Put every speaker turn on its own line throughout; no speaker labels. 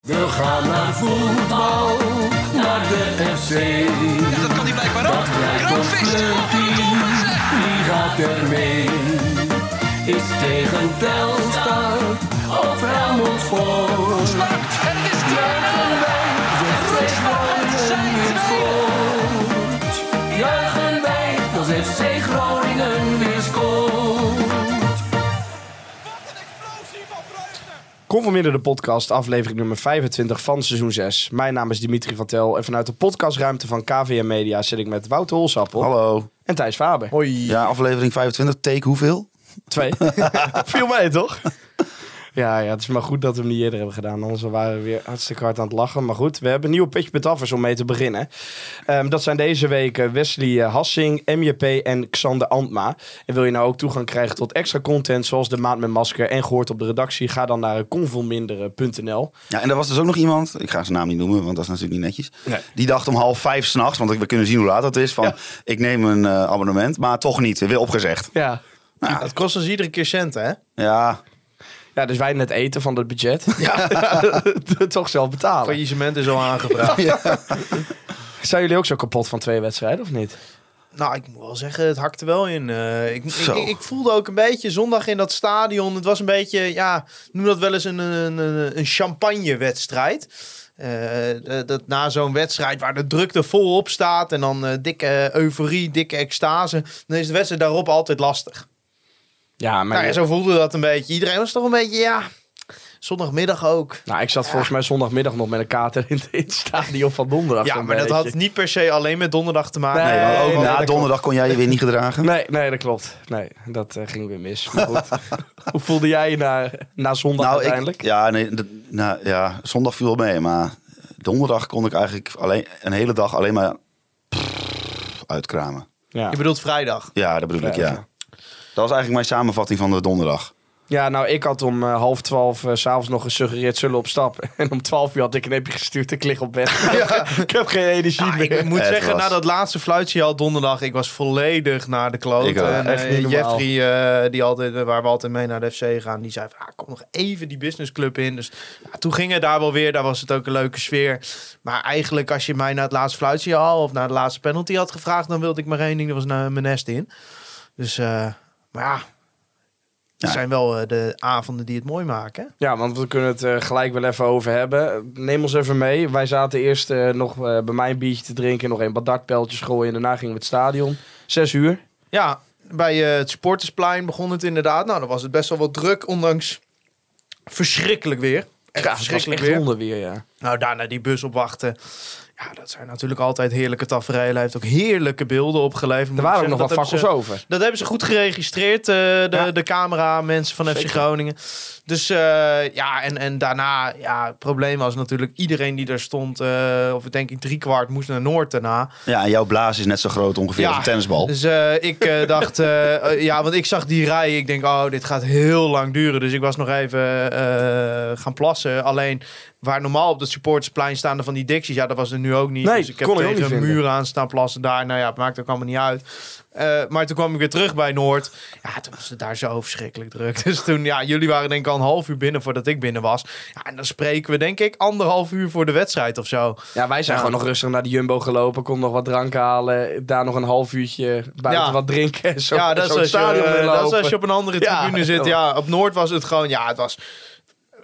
We gaan naar voetbal, naar de FC.
Dus Dat kan hij blijkbaar ook. Kroonvist.
Wie gaat er mee? Is tegen Telstar of Helmond Sport?
Markt. En het is 2-0. Roosmalen zijn
Zijn
2
sport. Juichen wij als FC Groningen weer scoort.
Kom vanmiddag de podcast, aflevering nummer 25 van seizoen 6. Mijn naam is Dimitri van Tel en vanuit de podcastruimte van KVM Media zit ik met Wouter Holsappel
Hallo.
en Thijs Faber. Hoi.
Ja, aflevering 25. Take hoeveel?
Twee. Viel mee, toch? Ja, ja, het is maar goed dat we hem niet eerder hebben gedaan. Anders waren we weer hartstikke hard aan het lachen. Maar goed, we hebben nieuwe pitch betaffers om mee te beginnen. Ehm, dat zijn deze weken Wesley eh, Hassing, MJP en Xander Antma. En wil je nou ook toegang krijgen tot extra content zoals de maand met masker en gehoord op de redactie? Ga dan naar convolminderen.nl.
Ja, en er was dus ook nog iemand, ik ga zijn naam niet noemen, want dat is natuurlijk niet netjes.
Nee.
Die dacht om half vijf s'nachts, want we kunnen zien hoe laat het is, van
Ja.
ik neem een eh, abonnement, maar toch niet. Weer opgezegd.
Ja.
Het kost ons iedere keer centen, hè?
Ja,
Ja, dus wij net eten van dat budget. Ja. Toch zelf betalen.
Faillissement is al aangevraagd.
Zijn jullie ook zo kapot van twee wedstrijden of niet?
Nou, ik moet wel zeggen, het hakte wel in. Eh, ik, ik,
Zo.
ik, ik voelde ook een beetje zondag in dat stadion. Het was een beetje, ja, noem dat wel eens een, een, een, een champagne-wedstrijd. Eh, dat- dat na zo'n wedstrijd waar de druk er volop staat en dan eh, dikke eh, euforie, dikke extase, dan is de wedstrijd daarop altijd lastig.
Ja, maar...
Nou, ja, zo voelde dat een beetje. Iedereen was toch een beetje, ja, zondagmiddag ook.
Nou, ik zat volgens mij zondagmiddag nog met een kater in het- in het stadion van donderdag.
Ja,
zo'n
maar dat
beetje.
had niet per se alleen met donderdag te maken.
Nee,
nee, want ook
nee, dat
na
klopt.
donderdag kon jij je weer niet gedragen.
Nee, nee, dat klopt. Nee, dat eh, ging weer mis. Maar goed. Hoe voelde jij je na, na zondag uiteindelijk?
Nou, Ik, ja, nee, dat- nou, ja, zondag viel wel mee, maar donderdag kon ik eigenlijk alleen, een hele dag alleen maar prrr, uitkramen.
Ja.
Je bedoelt vrijdag.
Ja, dat bedoel ik,
Ja,
ja.
ja.
Dat was eigenlijk mijn samenvatting van de donderdag.
ja, nou, ik had om eh, half twaalf eh, 's s'avonds nog gesuggereerd zullen we op stap. En om twaalf uur had ik een appje gestuurd. Ik lig op bed. ik heb geen energie
Ja,
meer.
ik moet
Het
zeggen,
was-
na dat laatste fluitje al donderdag, ik was volledig naar de kloot.
Ik ook.
en
Echt
eh,
niet normaal.
Jeffrey, eh, die altijd, waar we altijd mee naar de FC gaan, die zei van, ah, kom nog even die businessclub in. Dus ja, toen ging het daar wel weer, daar was het ook een leuke sfeer. Maar eigenlijk, als je mij naar het laatste fluitje al of naar de laatste penalty had gevraagd, dan wilde ik maar één ding, dat was naar mijn nest in. Dus, eh, maar ja,
Ja.
het zijn wel eh, de avonden die het mooi maken. hè?
Ja, want we kunnen het eh, gelijk wel even over hebben. Neem ons even mee. Wij zaten eerst eh, nog eh, bij mij een biertje te drinken. Nog een badartpijltjes gooien. En daarna gingen we het stadion. Zes uur.
Ja, bij eh, het supportersplein begon het inderdaad. Nou, dan was het best wel wat druk, ondanks verschrikkelijk weer. Echt
Ja, het was
verschrikkelijk
echt
weer.
onder weer, ja.
Nou, daarna die bus opwachten. Ja, dat zijn natuurlijk altijd heerlijke tafereelen. Hij heeft ook heerlijke beelden opgeleverd. moet
Er
ik
waren ook nog
zeggen.
wat
Dat eh, hebben
fakkels over.
ze- dat hebben ze goed geregistreerd, eh, de,
Ja.
de camera, mensen van FC
Zeker.
Groningen. Dus eh, ja, en, en daarna, ja, het probleem was natuurlijk iedereen die daar stond, eh, of ik denk ik driekwart, moest naar Noord daarna.
Ja, en jouw blaas is net zo groot ongeveer
Ja.
als een tennisbal.
Dus eh, ik eh, dacht, eh, eh, ja, want ik zag die rij. Ik denk, oh, dit gaat heel lang duren. Dus ik was nog even eh, gaan plassen. Alleen waar normaal op het supportersplein staan er van die dicties, ja, dat was er nu ook niet.
Nee,
dus ik heb
kon ik ook niet
tegen een
vinden.
muur aan staan plassen daar. Nou ja, het maakt ook allemaal niet uit. Eh, maar toen kwam ik weer terug bij Noord. Ja, toen was het daar zo verschrikkelijk druk. Dus toen, ja, jullie waren denk ik al een half uur binnen voordat ik binnen was. Ja, en dan spreken we denk ik anderhalf uur voor de wedstrijd of zo.
Ja, wij zijn
Ja.
gewoon nog rustig naar de Jumbo gelopen. Kon nog wat drank halen. Daar nog een half uurtje buiten
Ja.
wat drinken. En zo,
ja, dat
zo
is,
het
als je,
stadion
eh,
inlopen.
dat is als je op een andere
Ja,
tribune zit. Ja, op Noord was het gewoon... Ja, het was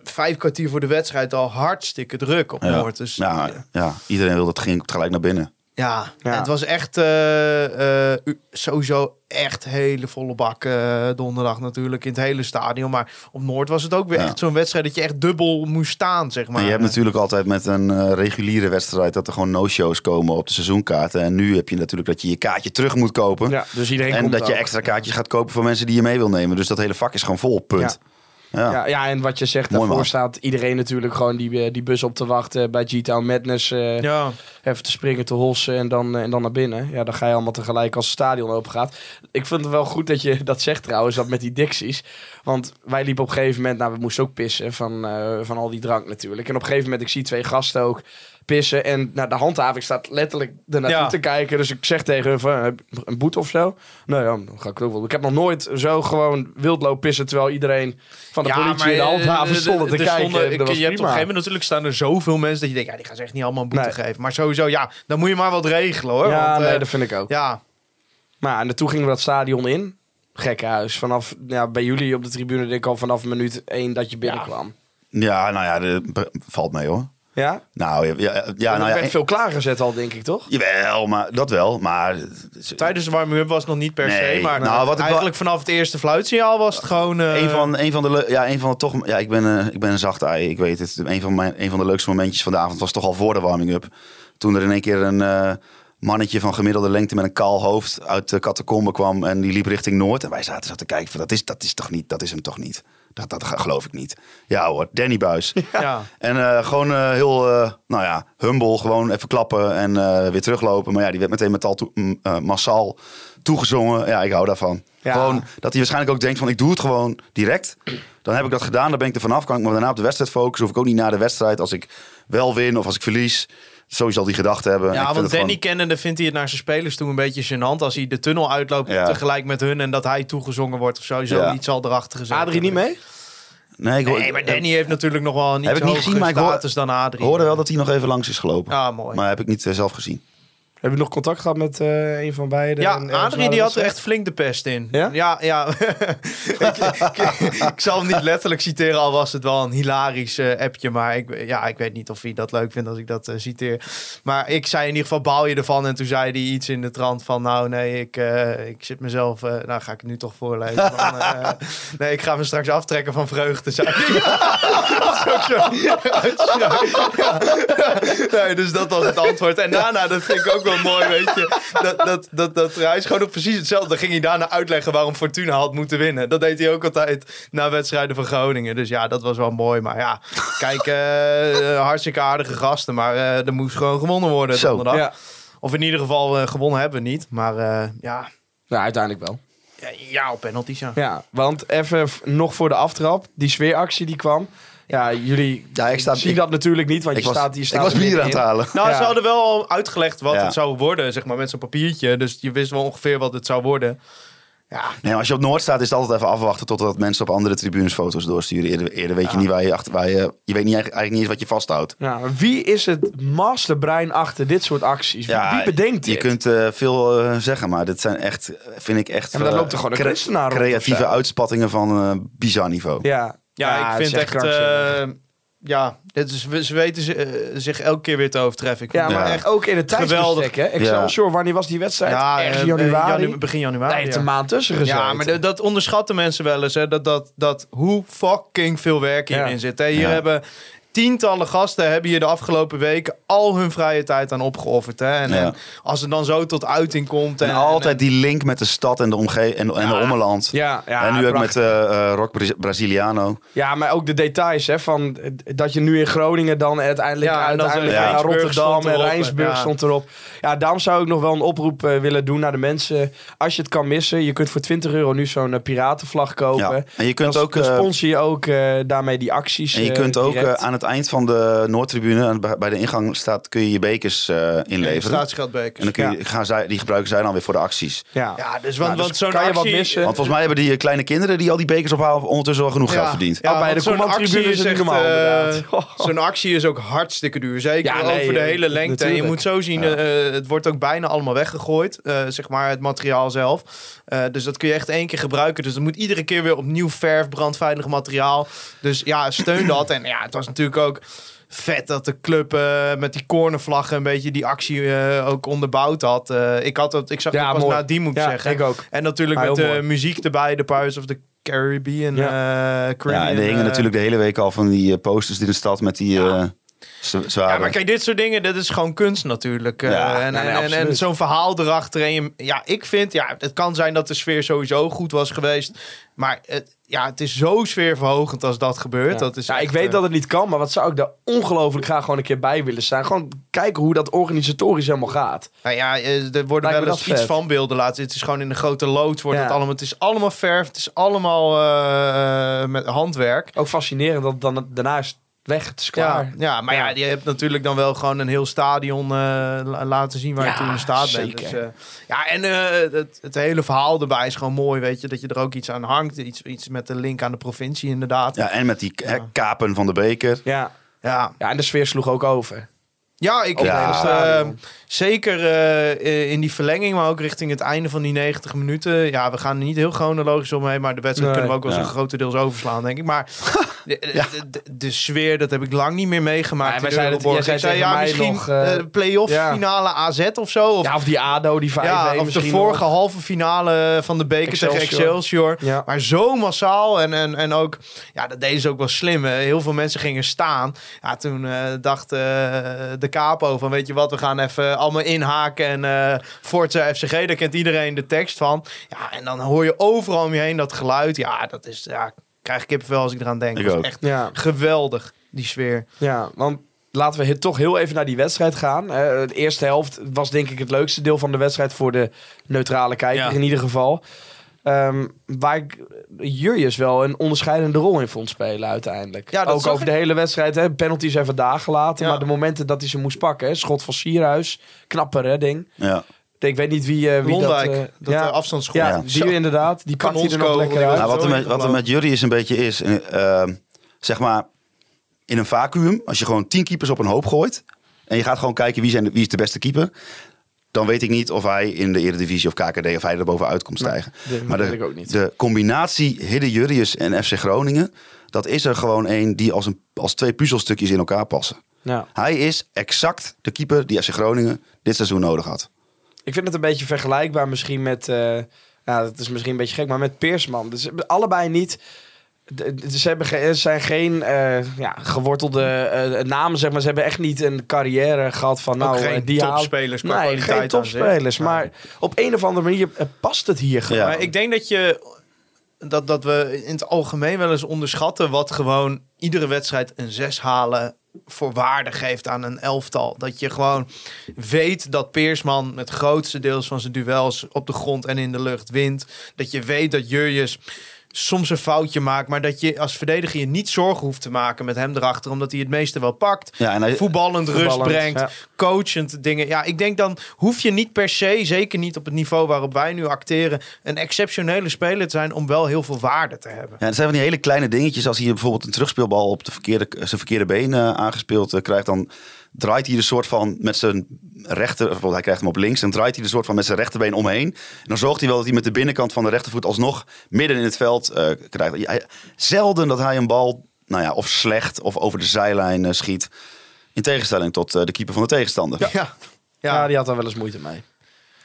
vijf kwartier voor de wedstrijd al hartstikke druk op
Ja.
Noord. Dus ja,
Ja, ja, iedereen wil dat ging gelijk naar binnen.
Ja.
het was echt eh, eh, u- sowieso echt hele volle bak eh, donderdag natuurlijk in het hele stadion. Maar op Noord was het ook weer
Ja.
echt zo'n wedstrijd dat je echt dubbel moest staan, zeg maar.
Maar je hebt natuurlijk altijd met een eh, reguliere wedstrijd dat er gewoon no-shows komen op de seizoenkaarten. En nu heb je natuurlijk dat je je kaartje terug moet kopen.
Ja, dus iedereen
en
komt
dat je
ook.
extra kaartjes gaat kopen voor mensen die je mee wil nemen. Dus dat hele vak is gewoon vol, punt. Ja.
Ja, ja, en wat je zegt,
Mooi,
daarvoor
man.
staat iedereen natuurlijk gewoon die, eh, die bus op te wachten bij G-Town Madness. eh,
Ja.
Even te springen, te hossen en dan, eh, en dan naar binnen. Ja, dan ga je allemaal tegelijk als het stadion open gaat. Ik vind het wel goed dat je dat zegt trouwens, dat met die dicties. Want wij liepen op een gegeven moment, nou we moesten ook pissen van, eh, van al die drank natuurlijk. En op een gegeven moment, ik zie twee gasten ook pissen. En nou, de handhaving staat letterlijk ernaartoe
Ja.
te kijken. Dus ik zeg tegen hun van, "Heb je een boete of zo? Nou ja, dan ga ik ook wel. Ik heb nog nooit zo gewoon wild lopen pissen terwijl iedereen van van de politie en
eh,
de handhaven stonden te kijken. en
ik,
dat was
je hebt op een
prima.
gegeven moment natuurlijk staan er zoveel mensen dat je denkt, ja, die gaan ze echt niet allemaal een boete
Nee.
geven. Maar sowieso, ja, dan moet je maar wat regelen hoor.
Ja,
want, eh,
nee, dat vind ik ook.
ja,
Maar ja, en toen gingen we dat stadion in. Gekke huis. Vanaf, ja, bij jullie op de tribune denk ik al vanaf minuut één dat je binnenkwam.
Ja, nou ja, dat b- valt mee hoor.
Ja?
Nou ja, ja, ja,
Er
nou ja
werd veel klaargezet al, denk ik, toch?
jawel, maar dat wel. Maar
tijdens de warming-up was het nog niet per
Nee,
se. Maar
nou, wat ik wel-
eigenlijk vanaf het eerste fluitsignaal was het gewoon... eh,
een van, een van de, leu- ja, een van de toch, ja, ik ben, eh, ik ben een zacht ei, ik weet het. Een van, mijn, een van de leukste momentjes van de avond was toch al voor de warming-up. Toen er in één keer een eh, mannetje van gemiddelde lengte met een kaal hoofd uit de catacombe kwam en die liep richting Noord. En wij zaten zo te kijken van, dat is, dat is toch niet, dat is hem toch niet. Dat, dat ge- geloof ik niet. Ja hoor, Danny Buis.
Ja.
En eh, gewoon eh, heel, eh, nou ja, humble. Gewoon even klappen en eh, weer teruglopen. Maar ja, die werd meteen met al toe- m- eh, massaal toegezongen. Ja, ik hou daarvan.
Ja.
Gewoon dat hij waarschijnlijk ook denkt van ik doe het gewoon direct. Dan heb ik dat gedaan, dan ben ik er vanaf. Kan ik me daarna op de wedstrijd focussen. Hoef ik ook niet na de wedstrijd als ik wel win of als ik verlies. Sowieso al die gedachte hebben. En ik
Ja,
vind
want
het
Danny
gewoon-
kennende vindt hij het naar zijn spelers toe een beetje gênant. Als hij de tunnel uitloopt
Ja.
tegelijk met hun en dat hij toegezongen wordt of sowieso
Ja.
iets zal erachter gezet
Adrie niet
worden.
mee?
Nee, ik hoor-
Nee, maar Danny heeft natuurlijk nog wel
Heb
een iets
ik niet
hogere
gezien, maar ik hoor-
status dan
Ik
Adrie.
hoorde wel dat hij nog even langs is gelopen.
Ja, Ah, mooi.
Maar heb ik niet eh, zelf gezien.
Heb je nog contact gehad met eh, een van beiden?
ja,
En ergens
Adrie
waar
die
dat
had er
was?
echt flink de pest in.
Ja?
Ja, ja. ik, ik- ik zal hem niet letterlijk citeren, al was het wel een hilarisch eh, appje. Maar ik, ja, ik weet niet of hij dat leuk vindt als ik dat eh, citeer. Maar ik zei in ieder geval, baal je ervan? En toen zei hij iets in de trant van, nou nee, ik, eh, ik zit mezelf... eh, nou, ga ik het nu toch voorlezen. Van, eh, nee, ik ga me straks aftrekken van vreugde, zei hij. Nee, dus dat was het antwoord. En daarna, dat vind ik ook wel mooi, weet je. Dat, dat, dat, dat, hij is gewoon op precies hetzelfde. Dan ging hij daarna uitleggen waarom Fortuna had moeten winnen. Dat deed hij ook altijd na wedstrijden van Groningen. Dus ja, dat was wel mooi. Maar ja, kijk, eh, eh, hartstikke aardige gasten. Maar eh, er moest gewoon gewonnen worden
Zo,
donderdag.
Ja.
Of in ieder geval eh, gewonnen hebben we niet. Maar eh, ja,
Nou, uiteindelijk wel.
ja, ja, op penalties, ja.
Ja, want even v- nog voor de aftrap. Die sfeeractie die kwam. Ja, jullie
Ja, ik sta-
zien
ik-
dat natuurlijk niet, want
Ik
je,
was,
staat, je
ik
staat
was
er
bier aan het
middenin.
halen.
Nou, ze
Ja.
hadden wel al uitgelegd wat
Ja.
het zou worden, zeg maar, met zo'n papiertje. Dus je wist wel ongeveer wat het zou worden. Ja,
Nee, maar als je op Noord staat, is het altijd even afwachten totdat mensen op andere tribunes foto's doorsturen. Eerder, eerder weet je niet waar je achter, waar je, je weet niet, eigenlijk eigenlijk niet eens wat je vasthoudt.
Ja, maar wie is het masterbrein achter dit soort acties? Wie, wie bedenkt dit?
Je kunt eh, veel eh, zeggen, maar dit zijn echt, eh, vind ik echt.
En daar
eh,
loopt er gewoon een kunstenaar rond of
Creatieve
zo.
uitspattingen van eh bizar niveau.
Ja,
Ja,
Ah, het
ik
is
vind echt.
krankzinnig.
eh, ja, dit is, ze weten ze, eh, zich elke keer weer te overtreffen. Ik
ja,
vond-
maar
ja.
echt ook in het tijdsbestek.
Geweldig.
Hè? Excelsior, wanneer was die wedstrijd?
Ja,
Ergens
eh,
januari.
janu- begin januari.
Daar heeft
ja.
een maand tussen gezeten.
Ja, maar de- dat onderschatten mensen wel eens. Hè? Dat, dat, dat hoe fucking veel werk hierin
Ja.
zit. Hè? Hier
Ja.
hebben tientallen gasten hebben hier de afgelopen weken al hun vrije tijd aan opgeofferd. Hè? En,
Ja.
en als het dan zo tot uiting komt. En,
En altijd die link met de stad en de omgeving en, en de ommeland.
ja, ja,
en nu ook
prachtig.
met eh, eh, Rock Bra- Braziliano.
Ja, maar ook de details hè, van eh, dat je nu in Groningen dan uiteindelijk,
Ja, en dan
uiteindelijk
zijn-
naar
ja.
Rotterdam
Rijnsburg stond
en
erop,
Rijnsburg
ja.
stond erop. Ja, daarom zou ik nog wel een oproep eh, willen doen naar de mensen. Als je het kan missen, je kunt voor 20 euro nu zo'n eh, piratenvlag kopen.
Ja. En je kunt
Dan-
ook.
dan
eh,
sponsor je ook eh, daarmee die acties.
en je
eh,
kunt ook eh,
direct.
aan het eind van de Noordtribune, aan- bij- bij de ingang staat, kun je je bekers eh, inleveren. En
Staatsgeldbekers.
dan kun je, gaan zij, die gebruiken zij dan weer voor de acties.
ja.
Ja, dus,
Nou,
want,
dus
want zo'n
kan je wat
actie-
missen?
Want volgens mij hebben die eh, kleine kinderen die al die bekers ophalen ondertussen wel genoeg geld verdiend.
Ja, bij
want
de
zo'n
commandtribune
actie
is het niet
echt,
normaal,
eh,
inderdaad.
Zo'n actie is ook hartstikke duur. Zeker
Ja, nee,
over de
eh,
hele lengte. En Je
natuurlijk.
moet zo zien, eh, het wordt ook bijna allemaal weggegooid. eh, zeg maar het materiaal zelf. Eh, dus dat kun je echt één keer gebruiken. Dus dat moet iedere keer weer opnieuw verf, brandveilig materiaal. Dus ja, steun dat. En ja, het was natuurlijk ook... Vet dat de club eh, met die cornervlaggen een beetje die actie eh, ook onderbouwd had. Eh, ik, had dat, ik zag
Ja,
dat pas
mooi.
na die moet ik
Ja,
zeggen.
ik ook.
En natuurlijk
Ah,
met
heel
de
mooi.
muziek erbij, de Pirates of the Caribbean.
Ja.
eh, Caribbean,
Ja, en er hingen
eh,
natuurlijk de hele week al van die eh, posters in de stad met die eh z- zware.
Ja, maar kijk, dit soort dingen, dat is gewoon kunst natuurlijk. Eh,
Ja,
en
nee, nee,
en, en, en
absoluut.
zo'n verhaal erachter. En je- ja, ik vind, ja, het kan zijn dat de sfeer sowieso goed was geweest. Maar het, ja, het is zo sfeerverhogend als dat gebeurt.
Ja.
Dat is
Ja,
echt,
ik weet
eh,
dat het niet kan, maar wat zou ik daar ongelooflijk graag gewoon een keer bij willen staan. Gewoon kijken hoe dat organisatorisch helemaal gaat.
Nou ja, eh, er worden
Lijkt me
wel eens
dat
iets
vet.
van beelden laten. Het is gewoon in de grote loods wordt
Ja.
het allemaal. Het is allemaal verf, het is allemaal eh, met handwerk.
Ook fascinerend dat het dan daarna is Weg, het is klaar.
Ja, ja, maar ja. je hebt natuurlijk dan wel gewoon een heel stadion eh, la- laten zien waar
Ja,
je toen in staat bent.
zeker.
Dus, eh, ja, en eh, het, het hele verhaal erbij is gewoon mooi, weet je. Dat je er ook iets aan hangt. Iets, iets met de link aan de provincie inderdaad. Ja,
Ja, en met die hè, kapen van de beker.
Ja.
ja.
ja, en de sfeer sloeg ook over.
ik
Ook
ja,
bij het
stadion.
eh, zeker eh, eh, in die verlenging, maar ook richting het einde van die 90 minuten. Ja, we gaan er niet heel chronologisch omheen, maar de wedstrijd
Nee.
kunnen we ook wel eens
Ja.
een grotendeels overslaan, denk ik. Maar de, de, de- de sfeer, dat heb ik lang niet meer meegemaakt.
Nee,
in
wij zeiden het-
Euroborg.
jij zei
Ik zei
tegen
ja,
mij
misschien
nog, eh,
eh, play-off
ja.
finale AZ of zo. Of
ja, of die ADO, die 5-1
Ja, of de
E misschien
vorige
nog.
halve finale van de beker tegen
Excelsior.
Excelsior.
Ja.
Maar zo massaal en, en, en ook... Ja, dat deden ze ook wel slim. hè. Heel veel mensen gingen staan. Ja, toen eh, dacht eh, de capo van... Weet je wat, we gaan even allemaal inhaken. En eh Forza FCG, daar kent iedereen de tekst van. Ja, en dan hoor je overal om je heen dat geluid. Ja, dat is... Ja, ik krijg kippenvel als ik eraan denk.
Ik
Dat is
ook.
echt
Ja,
geweldig, die sfeer.
ja, want laten we he- toch heel even naar die wedstrijd gaan. Eh, de eerste helft was denk ik het leukste deel van de wedstrijd voor de neutrale kijker
Ja.
in ieder geval. Ehm, waar ik Jurjes wel een onderscheidende rol in vond spelen uiteindelijk.
Ja, dat
Ook
zag
over
ik.
de hele wedstrijd. Hè. Penalties even daar gelaten.
Ja.
Maar de momenten dat hij ze moest pakken. Hè. Schot van Sierhuis. Knapper redding.
Ja.
Ik weet niet wie, eh wie
Londijk,
dat... eh,
dat, eh, afstandsschot.
ja,
Ja.
die inderdaad. Die pakt hij er nog
Kanonskogel,
lekker
die
uit.
was-
Nou, wat, er
Zo
met, wat er
ingelopen.
met jullie is een beetje is, eh, ehm, zeg maar, in een vacuüm, als je gewoon tien keepers op een hoop gooit en je gaat gewoon kijken wie, zijn de- wie is de beste keeper, dan weet ik niet of hij in de Eredivisie of KKD of hij er bovenuit komt stijgen.
dat
maar de,
weet ik ook niet.
de combinatie Hidde Jurrius en FC Groningen, dat is er gewoon één die als, een, als twee puzzelstukjes in elkaar passen.
Ja.
Hij is exact de keeper die FC Groningen dit seizoen nodig had.
Ik vind het een beetje vergelijkbaar misschien met... eh nou, dat is misschien een beetje gek, maar met Peersman. Dus allebei niet... de- de- Ze hebben ge- zijn geen eh, ja, gewortelde eh, namen, zeg maar. Ze hebben echt niet een carrière gehad van... nou, eh,
geen
die haal-
topspelers qua
Nee,
kwaliteit
geen
aan zich.
topspelers.
Nou.
Maar op een of andere manier eh, past het hier gewoon.
Ja.
Maar ik denk dat je dat, dat we in het algemeen wel eens onderschatten wat gewoon iedere wedstrijd een zes halen voor waarde geeft aan een elftal. Dat je gewoon weet dat Peersman het grootste deels van zijn duels op de grond en in de lucht wint. Dat je weet dat Jurjes soms een foutje maakt, maar dat je als verdediger je niet zorgen hoeft te maken met hem erachter, omdat hij het meeste wel pakt.
Ja, en hij,
Voetballend, rust
Voetballend,
brengt,
ja.
coachend dingen. Ja, ik denk dan hoef je niet per se, zeker niet op het niveau waarop wij nu acteren, een exceptionele speler te zijn om wel heel veel waarde te hebben.
Ja, dat zijn van die hele kleine dingetjes. Als hij bijvoorbeeld een terugspeelbal op de verkeerde, zijn verkeerde been eh, aangespeeld eh, krijgt, dan draait hij er soort van met zijn rechter, bijvoorbeeld hij krijgt hem op links, en draait hij er soort van met zijn rechterbeen omheen. En dan zorgt hij wel dat hij met de binnenkant van de rechtervoet alsnog midden in het veld eh, krijgt. Hij- zelden dat hij een bal, nou ja, of slecht of over de zijlijn eh, schiet. In tegenstelling tot eh, de keeper van de tegenstander.
Ja, ja.
Ja, die had daar wel eens moeite mee.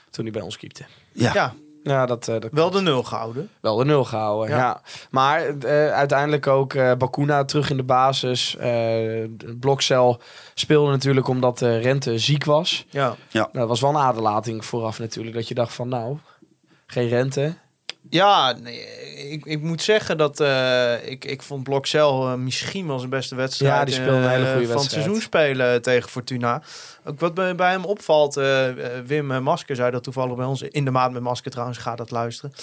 Toen hij bij ons keepte.
Ja.
ja,
Ja, dat, eh, dat
wel de nul gehouden.
wel de nul gehouden. Ja.
Ja.
Maar eh, uiteindelijk ook eh Bakuna terug in de basis. Eh Blokcel speelde natuurlijk omdat eh, Rente ziek was.
Ja,
Nou, dat was wel een aderlating vooraf natuurlijk. Dat je dacht van nou, geen Rente.
ja nee, ik, ik moet zeggen dat eh, ik, ik vond Blokcel eh, misschien wel zijn beste wedstrijd
Ja, die speelde een
eh,
hele goede
van het
wedstrijd.
seizoen spelen tegen Fortuna. Ook wat bij, bij hem opvalt, eh, eh, Wim eh, Masker zei dat toevallig bij ons, in de maand met Masker trouwens, ga dat luisteren.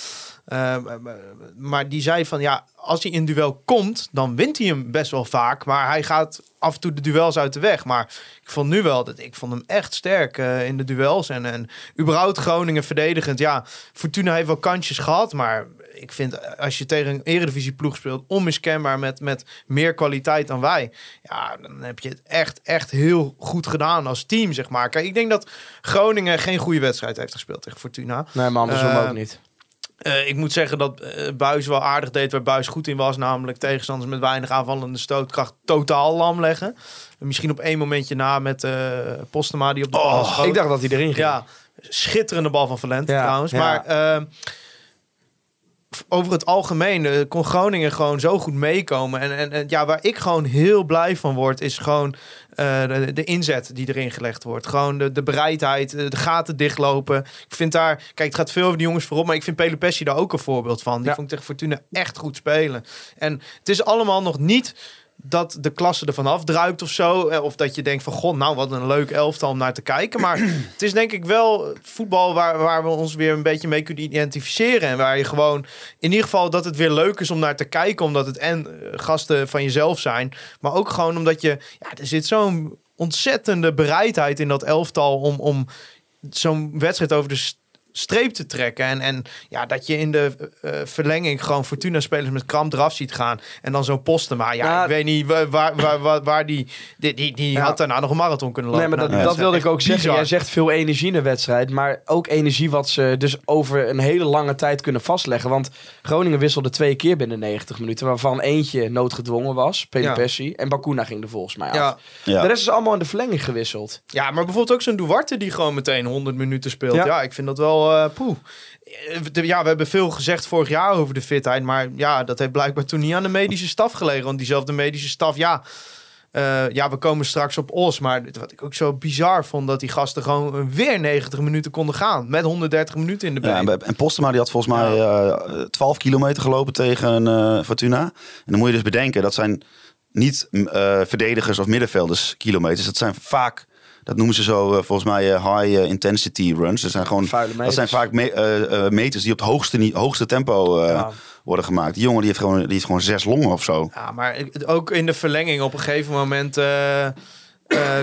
Eh, maar- maar- maar die zei van ja, als hij in duel komt, dan wint hij hem best wel vaak. Maar hij gaat af en toe de duels uit de weg. Maar ik vond nu wel dat ik vond hem echt sterk eh, in de duels. En, en überhaupt Groningen verdedigend. Ja, Fortuna heeft wel kansjes gehad. Maar ik vind eh, als je tegen een eredivisie ploeg speelt, onmiskenbaar met, met meer kwaliteit dan wij. Ja, dan heb je het echt, echt heel goed gedaan als team, zeg maar. Kijk, ik denk dat Groningen geen goede wedstrijd heeft gespeeld tegen Fortuna.
Nee, maar andersom
Eh,
ook niet.
Eh, ik moet zeggen dat eh, Buis wel aardig deed waar Buis goed in was. Namelijk tegenstanders met weinig aanvallende stootkracht totaal lam leggen. Misschien op één momentje na met eh Postema die op de bal schoot.
oh, ik dacht dat hij erin ging.
Ja, schitterende bal van Valente
Ja,
trouwens.
ja.
Maar ehm, f- over het algemeen eh, kon Groningen gewoon zo goed meekomen. En, en, en ja, waar ik gewoon heel blij van word, is gewoon eh, de, de inzet die erin gelegd wordt. Gewoon de, de bereidheid, eh, de gaten dichtlopen. Ik vind daar, kijk, het gaat veel over die jongens voorop, maar ik vind Pele Pessi daar ook een voorbeeld van. Die
Ja.
vond ik tegen Fortuna echt goed spelen. En het is allemaal nog niet dat de klasse ervan afdruipt of zo. eh, Of dat je denkt van, god, nou wat een leuk elftal om naar te kijken. Maar het is denk ik wel voetbal waar, waar we ons weer een beetje mee kunnen identificeren. En waar je gewoon, in ieder geval dat het weer leuk is om naar te kijken. Omdat het en eh, gasten van jezelf zijn. Maar ook gewoon omdat je, ja, er zit zo'n ontzettende bereidheid in dat elftal om, om zo'n wedstrijd over de s- streep te trekken. En, en ja, dat je in de eh, verlenging gewoon Fortuna-spelers met kramp eraf ziet gaan. En dan zo'n posten. Maar ja,
Nou,
ik weet niet wa- waar, waar, waar, waar die... Die, die, die
Ja.
had daarna nog een marathon kunnen
Nee,
lopen.
maar dat,
Nou,
dat wilde ik
echt
ook zeggen.
bizar.
Jij zegt veel energie in de wedstrijd. Maar ook energie wat ze dus over een hele lange tijd kunnen vastleggen. Want Groningen wisselde twee keer binnen 90 minuten. Waarvan eentje noodgedwongen was. Peter
Ja.
Pessi. En Bakuna ging er volgens mij af.
Ja.
Ja.
De rest is allemaal in de verlenging gewisseld.
Ja, maar bijvoorbeeld ook zo'n Duarte die gewoon meteen 100 minuten speelt.
Ja.
Ja, ik vind dat wel eh, poeh. Eh, de- Ja, we hebben veel gezegd vorig jaar over de fitheid. Maar ja, dat heeft blijkbaar toen niet aan de medische staf gelegen. Want diezelfde medische staf, ja. eh, ja, we komen straks op Os. Maar dit- wat ik ook zo bizar vond, dat die gasten gewoon weer 90 minuten konden gaan. Met 130 minuten in de been.
Ja, en, bij- en Postema die had volgens mij eh, 12 kilometer gelopen tegen eh, Fortuna. En dan moet je dus bedenken, dat zijn niet m, eh, verdedigers of middenvelders kilometers. Dat zijn vaak, dat noemen ze zo eh, volgens mij eh, high eh, intensity runs. Dat zijn gewoon,
Vuile
dat
meters.
zijn vaak me- eh, eh, meters die op het hoogste, ni- hoogste tempo eh,
Ja.
worden gemaakt. Die jongen die heeft, gewoon, die heeft gewoon zes longen of zo.
Ja, maar ik- ook in de verlenging op een gegeven moment eh, eh,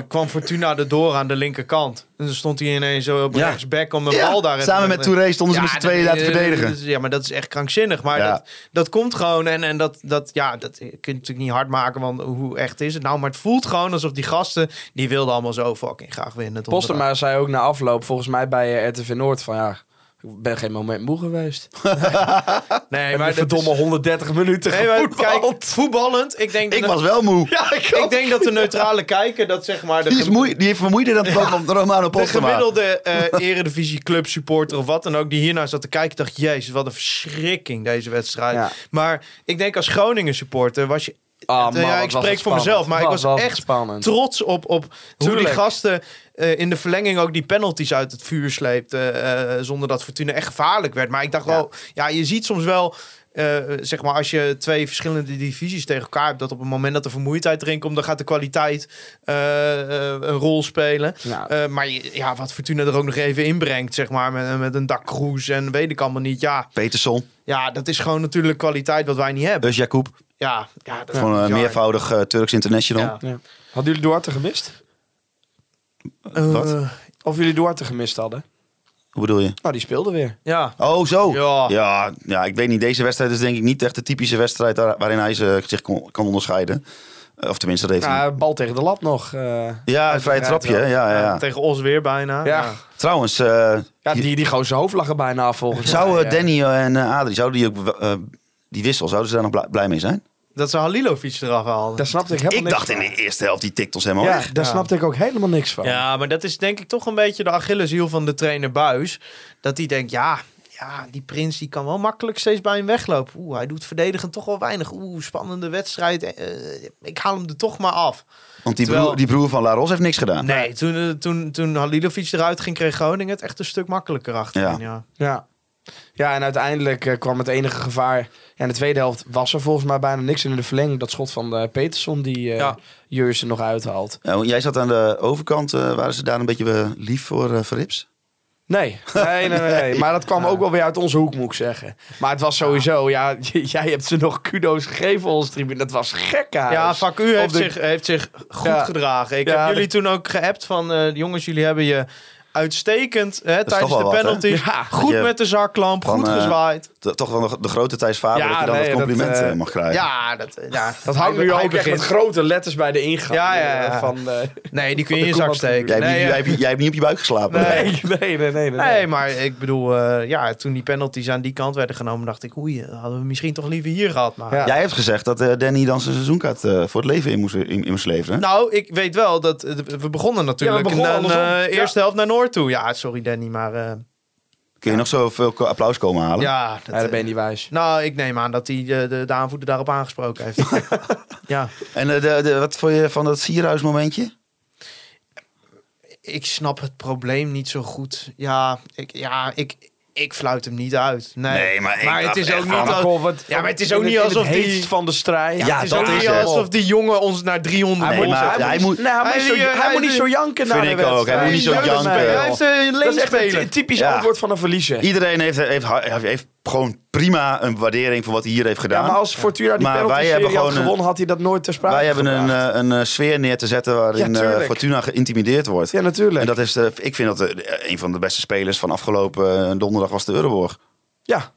kwam Fortuna erdoor aan de linkerkant. En dan stond hij ineens zo op
Ja.
rechtsback om een
Ja,
bal daar even-
samen met Touré stonden ze met z'n
dat-
tweeën daar te
eh,
verdedigen.
dat is- Ja, maar dat is echt krankzinnig. Maar
Ja.
dat, dat komt gewoon. En, en dat, dat, ja, dat kun je natuurlijk niet hard maken, want hoe echt is het nou? Maar het voelt gewoon alsof die gasten, die wilden allemaal zo fucking graag winnen. tot
Postema zei ook na afloop volgens mij bij eh, RTV Noord van ja... Ik ben geen moment moe geweest.
onderaan. Nee,
En maar
maar dat
verdomme
is...
130 minuten
Nee, maar
gevoetbald.
kijk, voetballend, ik denk,
Ik
dat,
was wel moe.
ik denk dat de neutrale kijker dat zeg maar... de
Die, is
gem-
moe, die heeft vermoeider dan Romano
De
Postema.
gemiddelde eh Eredivisie club supporter of wat dan ook die hiernaar zat te kijken, dacht jezus, wat een verschrikking deze wedstrijd.
Ja.
Maar ik denk als Groningen supporter was je
Ah,
ja,
man, wat
ik
was het
spreek voor
spannend.
mezelf, maar ik
Wat
was
het
echt
spannend.
trots op, op hoe die
Tuurlijk.
gasten eh, in de verlenging ook die penalties uit het vuur sleepten. eh, zonder dat Fortuna echt gevaarlijk werd. Maar ik dacht wel, ja, je ziet soms wel. eh, zeg maar, als je twee verschillende divisies tegen elkaar hebt, dat op het moment dat de vermoeidheid erin komt, dan gaat de kwaliteit eh, eh, een rol spelen.
Ja.
Eh, maar je- ja, wat Fortuna er ook nog even inbrengt, zeg maar, met, met een dakroes en weet ik allemaal niet. Ja,
Peterson,
ja, dat is gewoon natuurlijk kwaliteit wat wij niet hebben.
Dus Jacob.
Ja, ja dat is
Gewoon een
bizar.
meervoudig eh, Turks international.
Ja.
Ja. Hadden jullie Duarte gemist?
Wat?
Eh,
Of jullie Duarte gemist hadden?
Hoe bedoel je?
Nou, die speelde weer.
ja.
Oh, zo.
Ja.
Ja, ja, ik weet niet. Deze wedstrijd is denk ik niet echt de typische wedstrijd daar- waarin hij ze- zich kon- kan onderscheiden. Eh, Of tenminste, dat heeft hij.
Ja, bal tegen de lat nog. eh.
Ja, een vrije trapje. hè? Ja, ja, ja.
Tegen ons weer bijna.
Ja.
Trouwens, eh,
Ja, die, die gozer hoofd lag er bijna af volgens
zou
mij.
eh,
ja.
Danny en eh, Adrie, zouden die, ook, wel- eh, die wissel, zouden ze daar nog bla- blij mee zijn?
Dat ze Halilovic eraf haalden.
Daar snapte ik helemaal
Ik
niks
dacht in
van.
de eerste helft, die Oh, tikt ons helemaal
Ja,
weg.
daar
Ja.
snapte ik ook helemaal niks van.
Ja, maar dat is denk ik toch een beetje de Achilleshiel van de trainer Buis. Dat die denkt, ja, ja, die prins die kan wel makkelijk steeds bij hem weglopen. Oeh, hij doet verdedigend toch wel weinig. Oeh, spannende wedstrijd. Eh, ik haal hem er toch maar af.
Want die,
Terwijl-
broer, die broer van Laros heeft niks gedaan.
Nee, toen, eh, toen, toen Halilovic eruit ging, kreeg Groningen het echt een stuk makkelijker achterin. Ja.
Ja. Ja, en uiteindelijk eh, kwam het enige gevaar. Ja, in de tweede helft was er volgens mij bijna niks. En in de verlenging dat schot van eh, Peterson die eh
Ja.
Jurgen nog uithaalt.
Eh, jij zat aan de overkant, eh, waren ze daar een beetje eh, lief voor, eh, voor Rips?
Nee, nee, nee, nee, nee. Maar dat kwam ook wel weer uit onze hoek, moet ik zeggen. Maar het was sowieso, ja, j- jij hebt ze nog kudo's gegeven, ons tribune. Dat was gek,
Ja, Vacu
Of
heeft,
de-
zich, heeft zich goed
Ja.
gedragen. Ik
Ja,
heb
de-
jullie toen ook geappt van... eh, jongens, jullie hebben je uitstekend hè, tijdens
toch
de
wel wat, hè?
penalties...
Ja.
goed
Je-
met de zakklamp,
Van,
goed
eh,
gezwaaid.
De- toch wel de, de grote Thijs Faber,
Ja,
dat je dan
nee,
dat
dat,
compliment
eh,
eh, mag krijgen.
Ja, dat, ja,
Dat hangt
Hij-
nu
hij
ook echt
begint-
met grote letters bij de ingang.
Ja, ja, ja.
eh, Van, eh,
Nee, die kun je
de
in je zak
combat
steken.
Jij, hebt,
nee,
niet,
ja.
jij, hebt, jij hebt niet op je buik geslapen.
Nee.
eh, nee, nee, nee, nee, nee,
Nee, maar ik bedoel, eh, ja, toen die penalties aan die kant werden genomen... dacht ik, oei, eh, hadden we misschien toch liever hier gehad. Maar...
Ja.
Jij hebt gezegd dat eh, Danny dan zijn seizoenkaart eh, voor het leven in moest, in, in moest leveren.
Nou, ik weet wel dat... eh, we begonnen
Ja,
natuurlijk
we begonnen
een eh,
andersom. Ja.
eerste helft naar Noord toe. Ja, sorry Danny, maar... eh,
Kun je nog zoveel ko- applaus komen halen?
ja, dat,
Ja, dat ben je niet wijs.
Nou, ik neem aan dat hij eh, de, de aanvoerder daarop aangesproken heeft. ja,
En eh, de, de, wat vond je van dat sierhuismomentje?
ik snap het probleem niet zo goed. Ja, ik, ja, ik, ik fluit hem niet uit. Nee,
Nee, maar ik
het
dacht
is ook
echt
niet
van-
als-
Goh, wat-
Ja, maar het is
in
ook niet
in
alsof
het heetst
die...
van de strijd.
Ja,
het is
dat
ook
is
niet
het.
alsof die jongen ons naar 300
Hij
moet-
boksen.
maar
hij
hij
moet-
moet-
nee, hij moet
hij
niet zo-
doet-
hij
hij
moet niet
doet-
zo janken naar
Vind
de
ik ook.
wedstrijd.
Hij moet niet zo
Nee,
janken.
nee,
Hij heeft eh, een
Dat is echt een ty-
linkspeler.
typisch
Ja.
antwoord van een verliezer.
Iedereen heeft, heeft, heeft, heeft gewoon prima een waardering voor wat hij hier heeft
Ja,
gedaan.
maar als Fortuna die
Maar wij
penalty
hebben
serie had
gewoon een-
gewonnen, had hij dat nooit ter sprake
Wij hebben een,
gebracht.
eh, een eh, sfeer neer te zetten waarin
Ja,
eh,
tuurlijk.
Fortuna geïntimideerd wordt.
Ja, natuurlijk.
En dat is, eh, ik vind dat eh, een van de beste spelers van afgelopen eh, donderdag was de Euroborg.
Ja.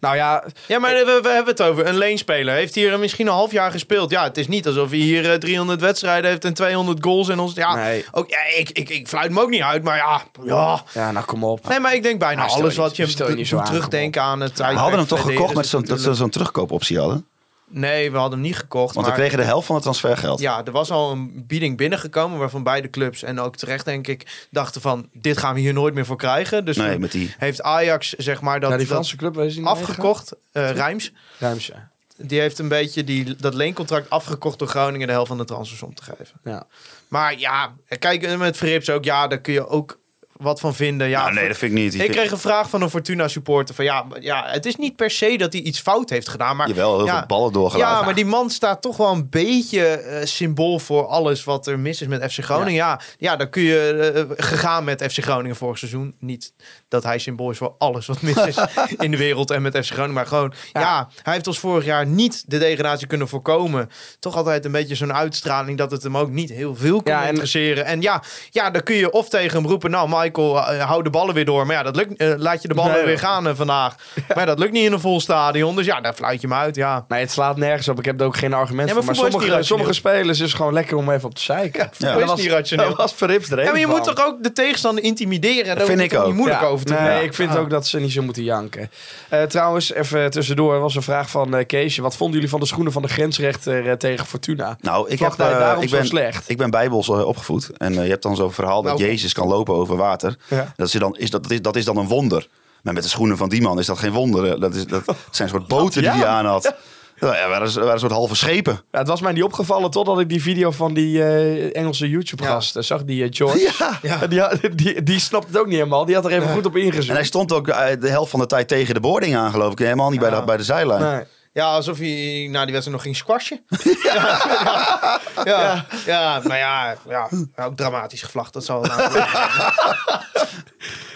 Nou ja,
Ja, maar we, we hebben het over een leenspeler. Heeft hier eh, misschien een half jaar gespeeld. Ja, het is niet alsof hij hier eh, 300 wedstrijden heeft en 200 goals. En ons, ja,
Nee.
ook, ja, ik, ik, ik fluit hem ook niet uit, maar ja. ja.
ja, nou kom op.
Nee, maar ik denk bijna
Nou, stel je
alles
niet-
wat je
stel je niet zo
moet
aan,
terugdenken aan het
We
tijdperk
hadden hem toch
van
gekocht met
Degens
zo'n, dat ze
natuurlijk.
zo'n terugkoopoptie hadden?
Nee, we hadden hem niet gekocht.
Want we
maar...
kregen de helft van het transfergeld.
Ja, er was al een bieding binnengekomen waarvan beide clubs en ook terecht denk ik dachten van dit gaan we hier nooit meer voor krijgen. Dus
Nee,
toen
met die.
heeft Ajax zeg maar dat,
Naar die
dat
Franse club is nou
afgekocht, eh Rijms.
Ruimse.
Die heeft een beetje die, dat leencontract afgekocht door Groningen de helft van de transfersom te geven.
Ja.
Maar ja, kijk, en met Verrips ook, ja, daar kun je ook wat van vinden. Ja,
Nou, nee, dat vind ik niet.
ik kreeg een vraag van een Fortuna supporter van ja, maar ja, het is niet per se dat hij iets fout heeft gedaan, maar
Jawel, heel
ja,
veel ballen doorgelaten.
ja, maar die man staat toch wel een beetje eh, symbool voor alles wat er mis is met FC Groningen. Ja, ja, dan kun je eh, gegaan met FC Groningen vorig seizoen. Niet dat hij symbool is voor alles wat mis is in de wereld en met FC Groningen. Maar gewoon, ja. hij heeft ons vorig jaar niet de degradatie kunnen voorkomen. Toch altijd een beetje zo'n uitstraling dat het hem ook niet heel veel kon
Ja, en-
interesseren. En ja, ja, dan kun je of tegen hem roepen, nou Michael, eh, hou de ballen weer door. Maar ja, dat lukt, eh, laat je de ballen
Nee,
weer
joh.
gaan eh, vandaag. Maar ja, dat lukt niet in een vol stadion. Dus ja, daar fluit je hem uit, ja.
Nee, het slaat nergens op. Ik heb er ook geen argument
Ja,
voor. Maar
maar voetbal is
sommige,
niet rationeel.
sommige spelers is gewoon lekker om even op te zeiken.
Ja, dat is niet rationeel.
Dat was Verrips er
Ja, maar je
één
moet
van.
toch ook de tegenstander intimideren? Daar
Dat vind
hoef je
ik
toch
ook.
niet moeilijk
Ja.
over te Ah. doen.
Nee, ik vind ook dat ze niet zo moeten janken. Eh, trouwens, even tussendoor er was een vraag van eh, Keesje. Wat vonden jullie van de schoenen van de grensrechter eh, tegen Fortuna?
Nou, ik, heb,
Vlagbaar,
eh,
daarom
ik,
zo
ben,
slecht.
ik ben bijbels eh, opgevoed. En eh, je hebt dan zo'n verhaal dat
Nou, kom.
Jezus kan lopen over water.
Ja.
Dat, is dan, is, dat, dat is, dat is dan een wonder. Maar met de schoenen van die man is dat geen wonder. Eh, Dat, is, dat zijn een soort boten die hij aan had. Ja, er waren, er waren een soort halve schepen.
Ja, Nou, het was mij niet opgevallen totdat ik die video van die eh, Engelse YouTube-gast eh, zag, die eh, George. En Die, had- die, die snapt het ook niet helemaal. Die had er even goed op
En hij
ingezoomd.
stond ook eh, de helft van de tijd tegen de boarding aan, geloof ik. Helemaal niet bij, de, bij de zijlijn.
Nee.
Ja, alsof hij na die wedstrijd nog ging squashen. ja. Ja. Ja. ja, nou ja, ja, ook dramatisch gevlacht. Dat zal wel aan-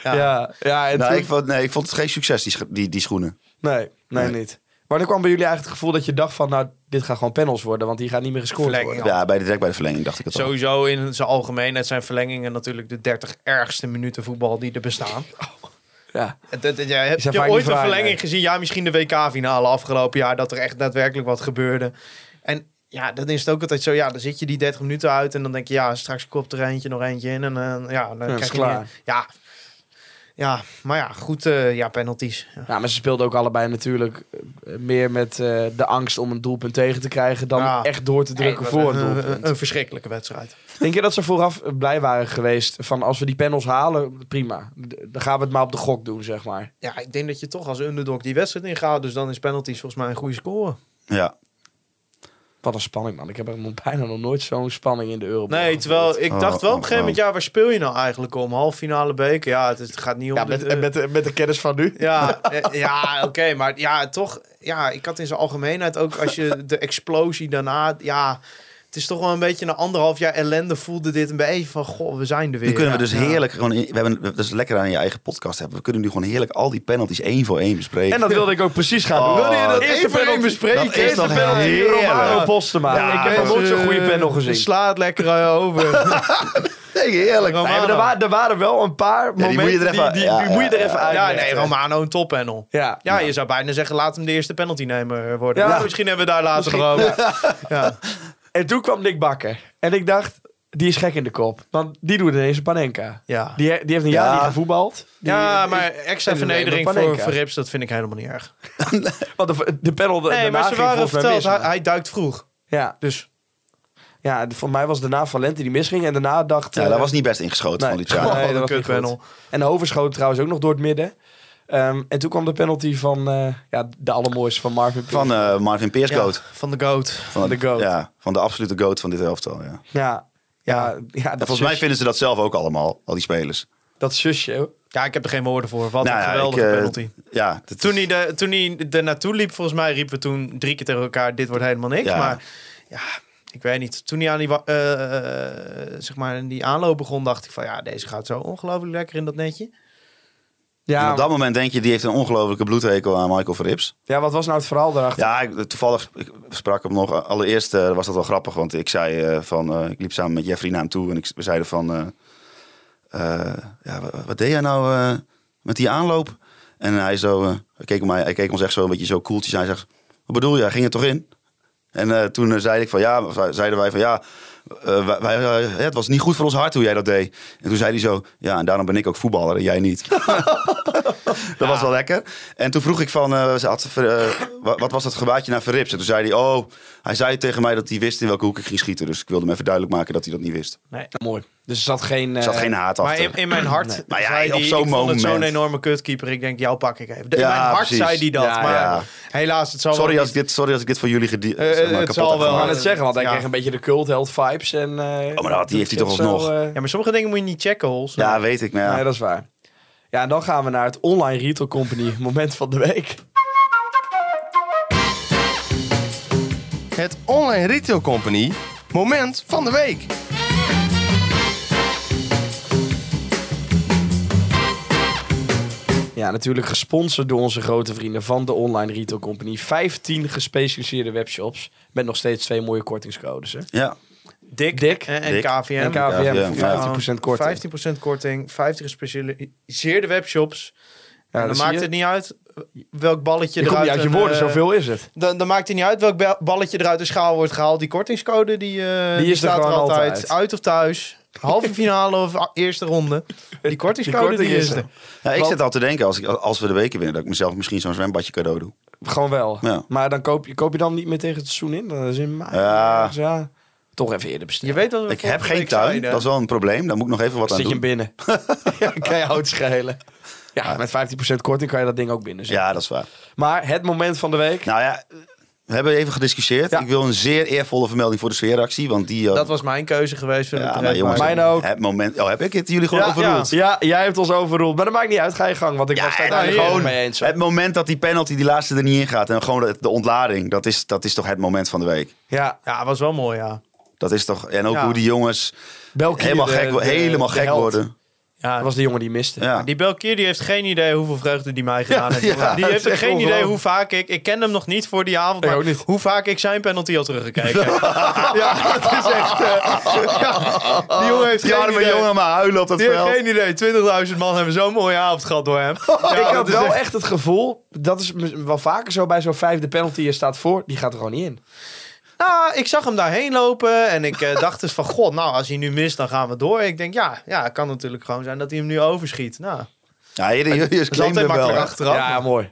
Ja, ja, en
Nou,
toen-
ik vond, nee, ik vond het geen succes, die, scho- die, die schoenen.
nee, nee, niet. Wanneer kwam bij jullie eigenlijk het gevoel dat je dacht van, nou, dit gaan gewoon panels worden, want die gaan niet meer gescoord
Verlenging.
worden?
Ja.
Ja, bij de, direct bij de verlenging dacht ik het al.
Sowieso in zijn algemeenheid zijn verlengingen natuurlijk de 30 ergste minuten voetbal die er bestaan.
Ja.
Het- het- het- ja, heb
Is er
je
vaak
ooit
niet
een
vrij,
verlenging
nee.
gezien? Ja, misschien de WK-finale afgelopen jaar. Dat er echt daadwerkelijk wat gebeurde. En ja, dan is het ook altijd zo. Ja, dan zit je die 30 minuten uit. En dan denk je, ja, straks kopt er eentje, nog eentje in. En eh, ja, dan
is
krijg je
klaar.
niet- Ja. ja, maar ja, goed. eh, ja, penalties. Ja.
Ja, Nou, maar ze speelden ook allebei natuurlijk eh, meer met eh, de angst om een doelpunt tegen te krijgen dan
Ja.
echt door te drukken
Nee,
voor
een,
een
een,
doelpunt.
een verschrikkelijke wedstrijd.
Denk je dat ze vooraf blij waren geweest van als we die panels halen, prima. D- Dan gaan we het maar op de gok doen, zeg maar.
Ja, ik denk dat je toch als underdog die wedstrijd ingaat. Dus dan is penalties volgens mij een goede score.
Ja.
Wat een spanning, man. Ik heb er bijna nog nooit zo'n spanning in de Euro.
Nee, terwijl ik
Oh,
dacht wel
oh,
op een gegeven moment, ja, waar speel je nou eigenlijk om? Half finale beker? Ja, het, het gaat niet om
Ja,
de-
met,
eh,
met, de- met de kennis van nu.
Ja, eh, ja oké, maar ja, toch. Ja, ik had in zijn algemeenheid ook als je de explosie daarna. Ja, het is toch wel een beetje na anderhalf jaar ellende voelde dit een beetje van. Goh, we zijn er weer.
Nu kunnen we dus
Ja.
heerlijk gewoon... in- We hebben, dat is lekker aan je eigen podcast hebben. We kunnen nu gewoon heerlijk al die penalties één voor één bespreken.
En dat wilde ik ook precies gaan doen.
Oh, Wilde je dat
Eerste
één voor één
penalty-
bespreken?
Dat is
Eerste
toch
penalty,
heerlijk. Romano
Romano
Postema.
Ja,
ik heb nog
Dus,
nooit zo'n goede
eh,
panel gezien.
Sla het lekker eh, over.
Nee, heerlijk.
Romano.
Nee, maar er, waren, er waren wel een paar
die
momenten
moet je er even-
die,
ja,
die moet je er
ja,
even
ja.
uit.
ja, nee, Romano een toppanel.
Ja.
Ja, je zou bijna zeggen, laat hem de eerste penaltynemer worden.
Ja.
Maar misschien hebben we daar later nog over. Ja.
En toen kwam Nick Bakker. En ik dacht, die is gek in de kop. Want die doet ineens een Panenka.
Ja.
Die, he- die heeft een jaar
Ja.
niet gevoetbald. Die-
ja,
die-
maar extra
en dan
vernedering
nemen we
voor
Panenka.
Verrips, dat vind ik helemaal niet erg.
Want de, de panel da-
Nee,
daarna
maar ze
ging
waren
volgens mij mis.
verteld, hij, hij duikt vroeg.
Ja,
Dus
ja, de- voor mij was daarna Valente die misging. En daarna dacht...
Ja,
eh,
dat was niet best ingeschoten
nee.
van Luciano.
Goh,
Nee,
wat
dat
een
was niet
kutpanel.
goed. En Hover schoot trouwens ook nog door het midden. Ehm, en toen kwam de penalty van eh, ja, de allermooiste van Marvin Peel.
Van eh, Marvin Peers
Ja,
goat.
van de goat.
Van
de goat.
Ja, van de absolute goat van dit elftal. Ja.
Ja, ja, ja, dat
Volgens mij
is-
dus-
vinden ze dat zelf ook allemaal, al die spelers.
Dat zusje.
Ja, ik heb er geen woorden voor. Wat
Nou
een
ja,
geweldige
ik, eh,
penalty.
Ja, dat-
Toen hij, de, toen hij er naartoe liep, volgens mij riepen we toen drie keer tegen elkaar: Dit wordt helemaal niks.
Ja.
Maar ja, ik weet niet. Toen hij aan die, wa- eh, eh, zeg maar, die aanloop begon, dacht ik van ja, deze gaat zo ongelooflijk lekker in dat netje.
en
Ja,
op dat moment denk je, die heeft een ongelofelijke bloedhekel aan Michael Verrips.
ja, wat was nou het verhaal daarachter?
Ja, ik, toevallig ik sprak hem nog. Allereerst eh, was dat wel grappig, want ik zei eh, van, eh, ik liep samen met Jeffrey naar hem toe en ik, we zeiden van, eh, eh, ja, wa- wat, deed jij nou eh, met die aanloop? En hij zo, eh, hij keek mij, hij keek ons echt zo een beetje zo koeltjes aan. Hij zegt, wat bedoel je? Hij ging er toch in? En eh, toen eh, zei ik van, ja, of zeiden wij van, ja, eh, wij, wij, eh, het was niet goed voor ons hart hoe jij dat deed. En toen zei hij zo, ja, en daarom ben ik ook voetballer en jij niet. Dat was wel lekker. En toen vroeg ik van, eh, ze had, ver- eh, wa- wat was dat gebaatje naar Verrips? En toen zei hij, oh, hij zei tegen mij dat hij wist in welke hoek ik ging schieten. Dus ik wilde hem even duidelijk maken dat hij dat niet wist.
Mooi. Dus er zat geen...
Er zat geen haat
Eh, Maar
achter.
in, in mijn hart.
Maar ja,
zei
op
die,
zo'n
ik vond het zo'n
moment.
enorme kutkeeper. Ik denk, jou pak ik even. De- in
Ja,
mijn hart
precies.
zei hij dat.
Ja,
maar
ja.
helaas, het zal
sorry,
wel
als ik dit, sorry als ik dit voor jullie gedie-
Eh,
zeg maar,
het
kapot
zal
heb
wel,
Ik
gemaakt.
wou
Ehm,
net zeggen, want hij
Ja.
kreeg een beetje de cult held vibes. En, eh,
Oh, maar dat heeft hij toch
zo,
alsnog.
eh,
Ja, maar sommige dingen moet je niet checken, Hols.
Ja, weet ik. Maar ja.
Nee, dat is waar. Ja, en dan gaan we naar het online retail company moment van de week.
Het Online Retail Company moment van de week.
Ja, natuurlijk gesponsord door onze grote vrienden van de online retail company. 15 gespecialiseerde webshops met nog steeds twee mooie kortingscodes. Hè?
ja.
Dik,
Dik.
en, en
Dik.
KVM.
En KVM,
ja, ja.
voor 15% korting.
15% Ehm, korting, 50 gespecialiseerde webshops.
Ja,
en
dat
dan
zie
maakt
je.
het niet uit welk balletje
Je komt
eruit...
niet uit je
een,
woorden,
eh,
zoveel is het.
Dan, dan maakt het niet uit welk ba- balletje eruit de schaal wordt gehaald. Die kortingscode die, eh,
Die is er
staat er
gewoon
altijd.
altijd.
Uit of thuis. Halve finale of a- eerste ronde. Die kortingscode die,
korting
is
is
er.
er.
Ja, ik
Want-
zit al te denken, als, ik, als we de weken winnen, dat ik mezelf misschien zo'n zwembadje cadeau doe.
Gewoon wel.
Ja.
Maar dan koop je, koop je dan niet meer tegen het seizoen in. Dat is in maart.
Ja.
Dus ja, toch even eerder bestellen.
Je weet wat we
Ik heb
vorige
geen
week
tuin,
zeiden.
dat is wel een probleem. Daar moet ik nog even wat aan
Zit je hem
doen.
binnen. ja, kan je hout schelen. Ja, met 15% korting kan je dat ding ook binnen zetten.
Ja, dat is waar.
Maar het moment van de week.
Nou ja, we hebben even gediscussieerd.
Ja.
Ik wil een zeer eervolle vermelding voor de sfeeractie, want die... eh,
Dat was mijn keuze geweest. Voor
ja,
de
maar jongens,
Mijn ook.
Het moment, oh, heb ik het jullie gewoon
Ja,
overroeld?
Ja, jij hebt ons overroeld. Maar dat maakt niet uit. Ga je gang. Want ik was daar
en
uiteindelijk
gewoon
gewoon mee eens. hoor.
Het moment dat die penalty, die laatste er niet in gaat. En gewoon de, de ontlading. Dat is, dat is toch het moment van de week.
Ja,
ja, was wel mooi, ja.
Dat is toch. En ook
Ja.
hoe die jongens
Belkier,
helemaal
de-
gek,
de-
helemaal
de
gek
held.
worden.
ja
Dat was de jongen die miste.
Ja.
Ah, Die Belkier die heeft geen idee hoeveel vreugde die mij gedaan heeft.
ja,
die
dat
heeft
is
ook
echt
geen idee hoe
ongelooflijk.
vaak ik... Ik ken hem nog niet voor die avond,
Ik
maar
ook niet.
hoe vaak ik zijn penalty had teruggekeken. ja, dat is echt... eh, ja, die jongen heeft
Die
geen
arme
idee.
jongen maar huilen op dat
die heeft
veld.
geen idee. 20.000 man hebben zo'n mooie avond gehad door hem. Ja,
ik
dat
had
is
wel
echt-
echt... het gevoel, dat is m- wel vaker zo bij zo'n vijfde penalty, je staat voor, die gaat er gewoon niet in.
Nou, ik zag hem daarheen lopen en ik eh, dacht dus van... God, nou, als hij nu mist, dan gaan we door. Ik denk, ja, ja, het kan natuurlijk gewoon zijn dat hij hem nu overschiet. Nou,
Ja, je, je, je
dat is
claimt hem
altijd
wel.
makkelijk
hè.
achteraf.
ja, mooi.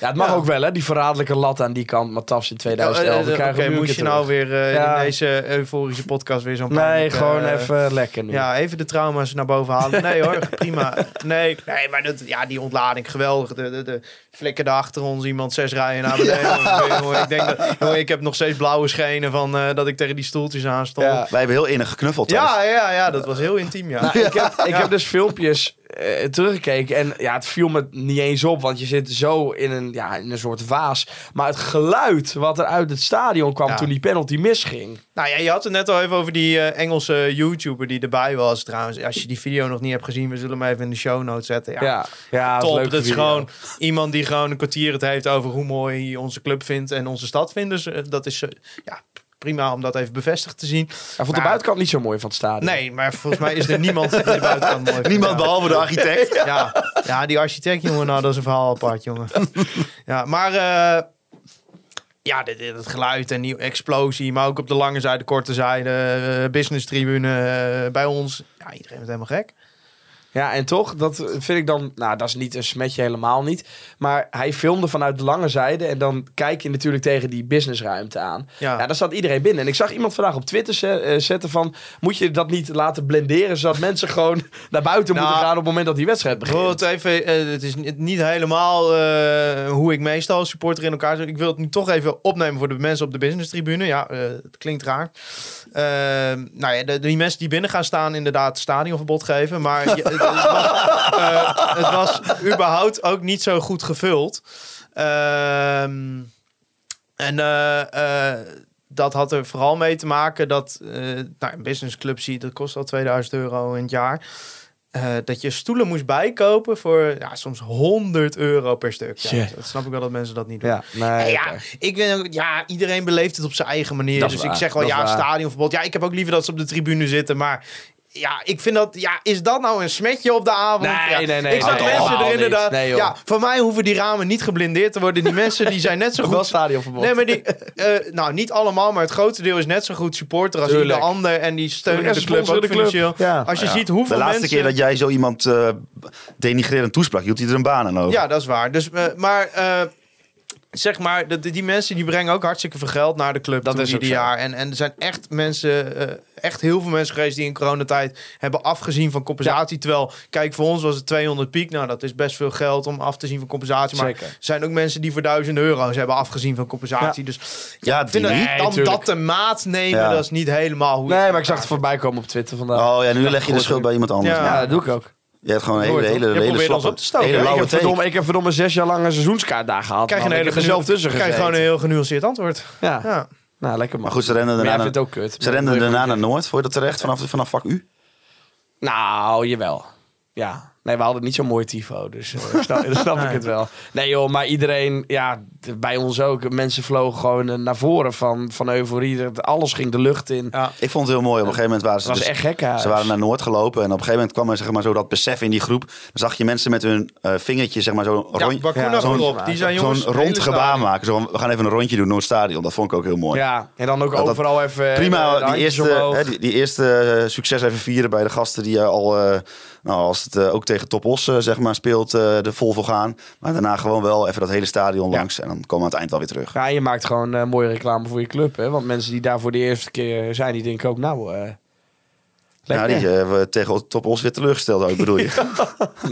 Ja, het mag
Ja.
ook wel, hè? Die verraderlijke lat aan die kant, Matas in
Ja,
2011.
eh,
Dan
Oké,
krijgen we hem
moest
een
je
keer
nou
terug.
weer eh,
Ja.
in deze euforische podcast weer zo'n
Nee,
paniek,
gewoon
eh,
even lekker nu.
Ja, even de trauma's naar boven halen. Nee hoor, prima. Nee, nee maar dat, ja, die ontlading, geweldig. De, de, de flikkerde achter ons iemand zes rijen naar beneden. Jongen, ik, denk dat, jongen, ik heb nog steeds blauwe schenen van eh, dat ik tegen die stoeltjes aan stond.
Ja.
Ja.
Wij hebben heel innig geknuffeld. thuis.
Ja, ja, dat was heel intiem, ja.
Ik heb, ik heb dus filmpjes eh, teruggekeken en ja, het viel me niet eens op, want je zit zo in een, ja, in een soort waas. Maar het geluid wat er uit het stadion kwam
Ja.
toen die penalty misging.
Nou ja, je had het net al even over die eh, Engelse YouTuber die erbij was trouwens. Als je die video nog niet hebt gezien, we zullen hem even in de show notes zetten.
Ja, ja, dat is een
top.
leuke
Dat is
video.
gewoon iemand die gewoon een kwartier het heeft over hoe mooi hij onze club vindt en onze stad vindt. Dus eh, dat is eh, ja, prima om dat even bevestigd te zien.
Hij vond de
Maar-
buitenkant niet zo mooi van het stadion.
Nee, maar volgens mij is er niemand die de buitenkant mooi vindt.
Niemand
ja.
behalve de architect.
Ja. ja, die architect, jongen, nou, dat is een verhaal apart, jongen. Ja, maar eh, ja, dit, dit- het geluid en die explosie, maar ook op de lange zijde, de korte zijde, eh, business tribune eh, bij ons. Ja, iedereen werd helemaal gek.
Ja, en toch, dat vind ik dan... Nou, dat is niet een smetje, helemaal niet. Maar hij filmde vanuit de lange zijde... en dan kijk je natuurlijk tegen die businessruimte aan. Ja,
Ja.
daar staat iedereen binnen. En ik zag iemand vandaag op Twitter ze- eh, zetten van... moet je dat niet laten blenderen... zodat mensen gewoon naar buiten
Nou,
moeten gaan... op het moment dat die wedstrijd
Ik wil
begint.
het even, eh, het is niet niet helemaal eh, hoe ik meestal als supporter in elkaar zit. Ik wil het nu toch even opnemen voor de mensen op de business tribune. Ja, eh, het klinkt raar. Eh, Ehm, nou ja, de, die mensen die binnen gaan staan, inderdaad stadionverbod geven. Maar je- Eh, het was überhaupt ook niet zo goed gevuld. Ehm, en eh, eh, dat had er vooral mee te maken dat eh, nou, een businessclub zie je, dat kost al 2000 euro in het jaar. Eh, dat je stoelen moest bijkopen voor ja, soms 100 euro per stuk. Ja,
Jee.
Dat snap ik wel dat mensen dat niet doen.
Ja, nee,
Ja,
oké.
ik ben ook- ja, iedereen beleeft het op zijn eigen manier.
Dat is
dus ik
waar,
zeg wel,
dat is
ja,
waar.
stadionverbod. Ja, ik heb ook liever dat ze op de tribune zitten, maar... Ja, ik vind dat... Ja, is dat nou een smetje op de avond?
Nee,
Ja,
nee, nee,
Ik zag
nee,
mensen
helemaal
er inderdaad...
niet. Nee, joh.
ja, voor mij hoeven die ramen niet geblindeerd te worden. Die mensen die zijn net zo
Wel
goed...
stadionverbod.
Nee, maar die... eh, nou, niet allemaal, maar het grootste deel is net zo goed supporter als
Tuurlijk.
ieder ander. En die steunen
En
de club
sponsoren
ook
de club.
financieel.
Ja.
Als je
Ja.
ziet hoeveel
de laatste
mensen...
keer dat jij zo iemand eh, denigrerend toesprak, hield hij er een baan aan over.
Ja, dat is waar. Dus, eh, maar eh, zeg maar, dat- die mensen die brengen ook hartstikke veel geld naar de club dat
is ook
ieder
zo.
jaar. En, en er zijn echt mensen, eh, echt heel veel mensen geweest die in coronatijd hebben afgezien van compensatie. Terwijl, kijk, voor ons was het 200 piek. Nou, dat is best veel geld om af te zien van compensatie. Maar
Zeker.
er zijn ook mensen die voor duizenden euro's hebben afgezien van compensatie. Dus
Ja,
ik vind dat,
die niet.
dan
tuurlijk.
dat de maat nemen,
Ja.
dat is niet helemaal hoe
Nee, maar ik zag het voorbij komen op Twitter vandaag.
Oh ja, nu leg je de schuld bij iemand anders.
Ja.
Ja.
ja, dat doe ik ook.
Je hebt gewoon een hele,
Nooit,
hele,
hoor. Je
hele
probeert
slappe-
ons op te stoken.
hele
Ja,
Ik
lauwe
heb, verdomme,
thee.
ik heb verdomme zes jaar lang een seizoenskaart daar gehad.
Krijg je
man.
een
Ik
hele
heb er zelf
genu-
tussen
krijg je
gezeten.
gewoon een heel genuanceerd antwoord.
Ja.
Ja.
nou lekker man.
Maar goed, ze renden
maar jij
daarna,
vindt
naar,
het ook kut.
ze renden
Maar-
daarna naar Noord. Vond je dat terecht vanaf, vanaf vak U?
Nou, jawel. Ja. Nee, we hadden niet zo'n mooi tifo, dus eh, ik snap, dan snap ik het wel. Nee joh, maar iedereen, ja, d- bij ons ook. Mensen vlogen gewoon eh, naar voren van, van euforie. Dat Alles ging de lucht in.
Ja.
Ik vond het heel mooi. Op een gegeven moment waren ze,
Het was
dus-
echt gek hè.
ze waren naar Noord gelopen. En op een gegeven moment kwam er zeg maar, zo dat besef in die groep. Dan zag je mensen met hun eh, vingertje zeg maar, zo'n
Ja,
rond-
Bakuna
ja, zo'n-
voorop. Die zijn
zo'n
jongens
rond
hele
gebaar
stadion.
maken. Zo, van, we gaan even een rondje doen Noordstadion. Dat vond ik ook heel mooi.
Ja, en dan ook
Ja, dat-
overal even... eh, de
Prima, die
handjes
eerste,
omhoog.
hè, die, die eerste eh, succes even vieren bij de gasten die eh, al, eh, nou, als het eh, ook tegen Top Os eh, zeg maar, speelt, eh, de vol voor gaan. Maar daarna gewoon wel even dat hele stadion
Ja.
langs en dan komen we aan het eind wel weer terug.
Ja, en je maakt gewoon eh, mooie reclame voor je club. Hè? Want mensen die daar voor de eerste keer zijn, die denken ook, nou... eh
Ja,
lekker.
Nou, die eh, hebben we tegen Top Os weer teleurgesteld ook, bedoel je?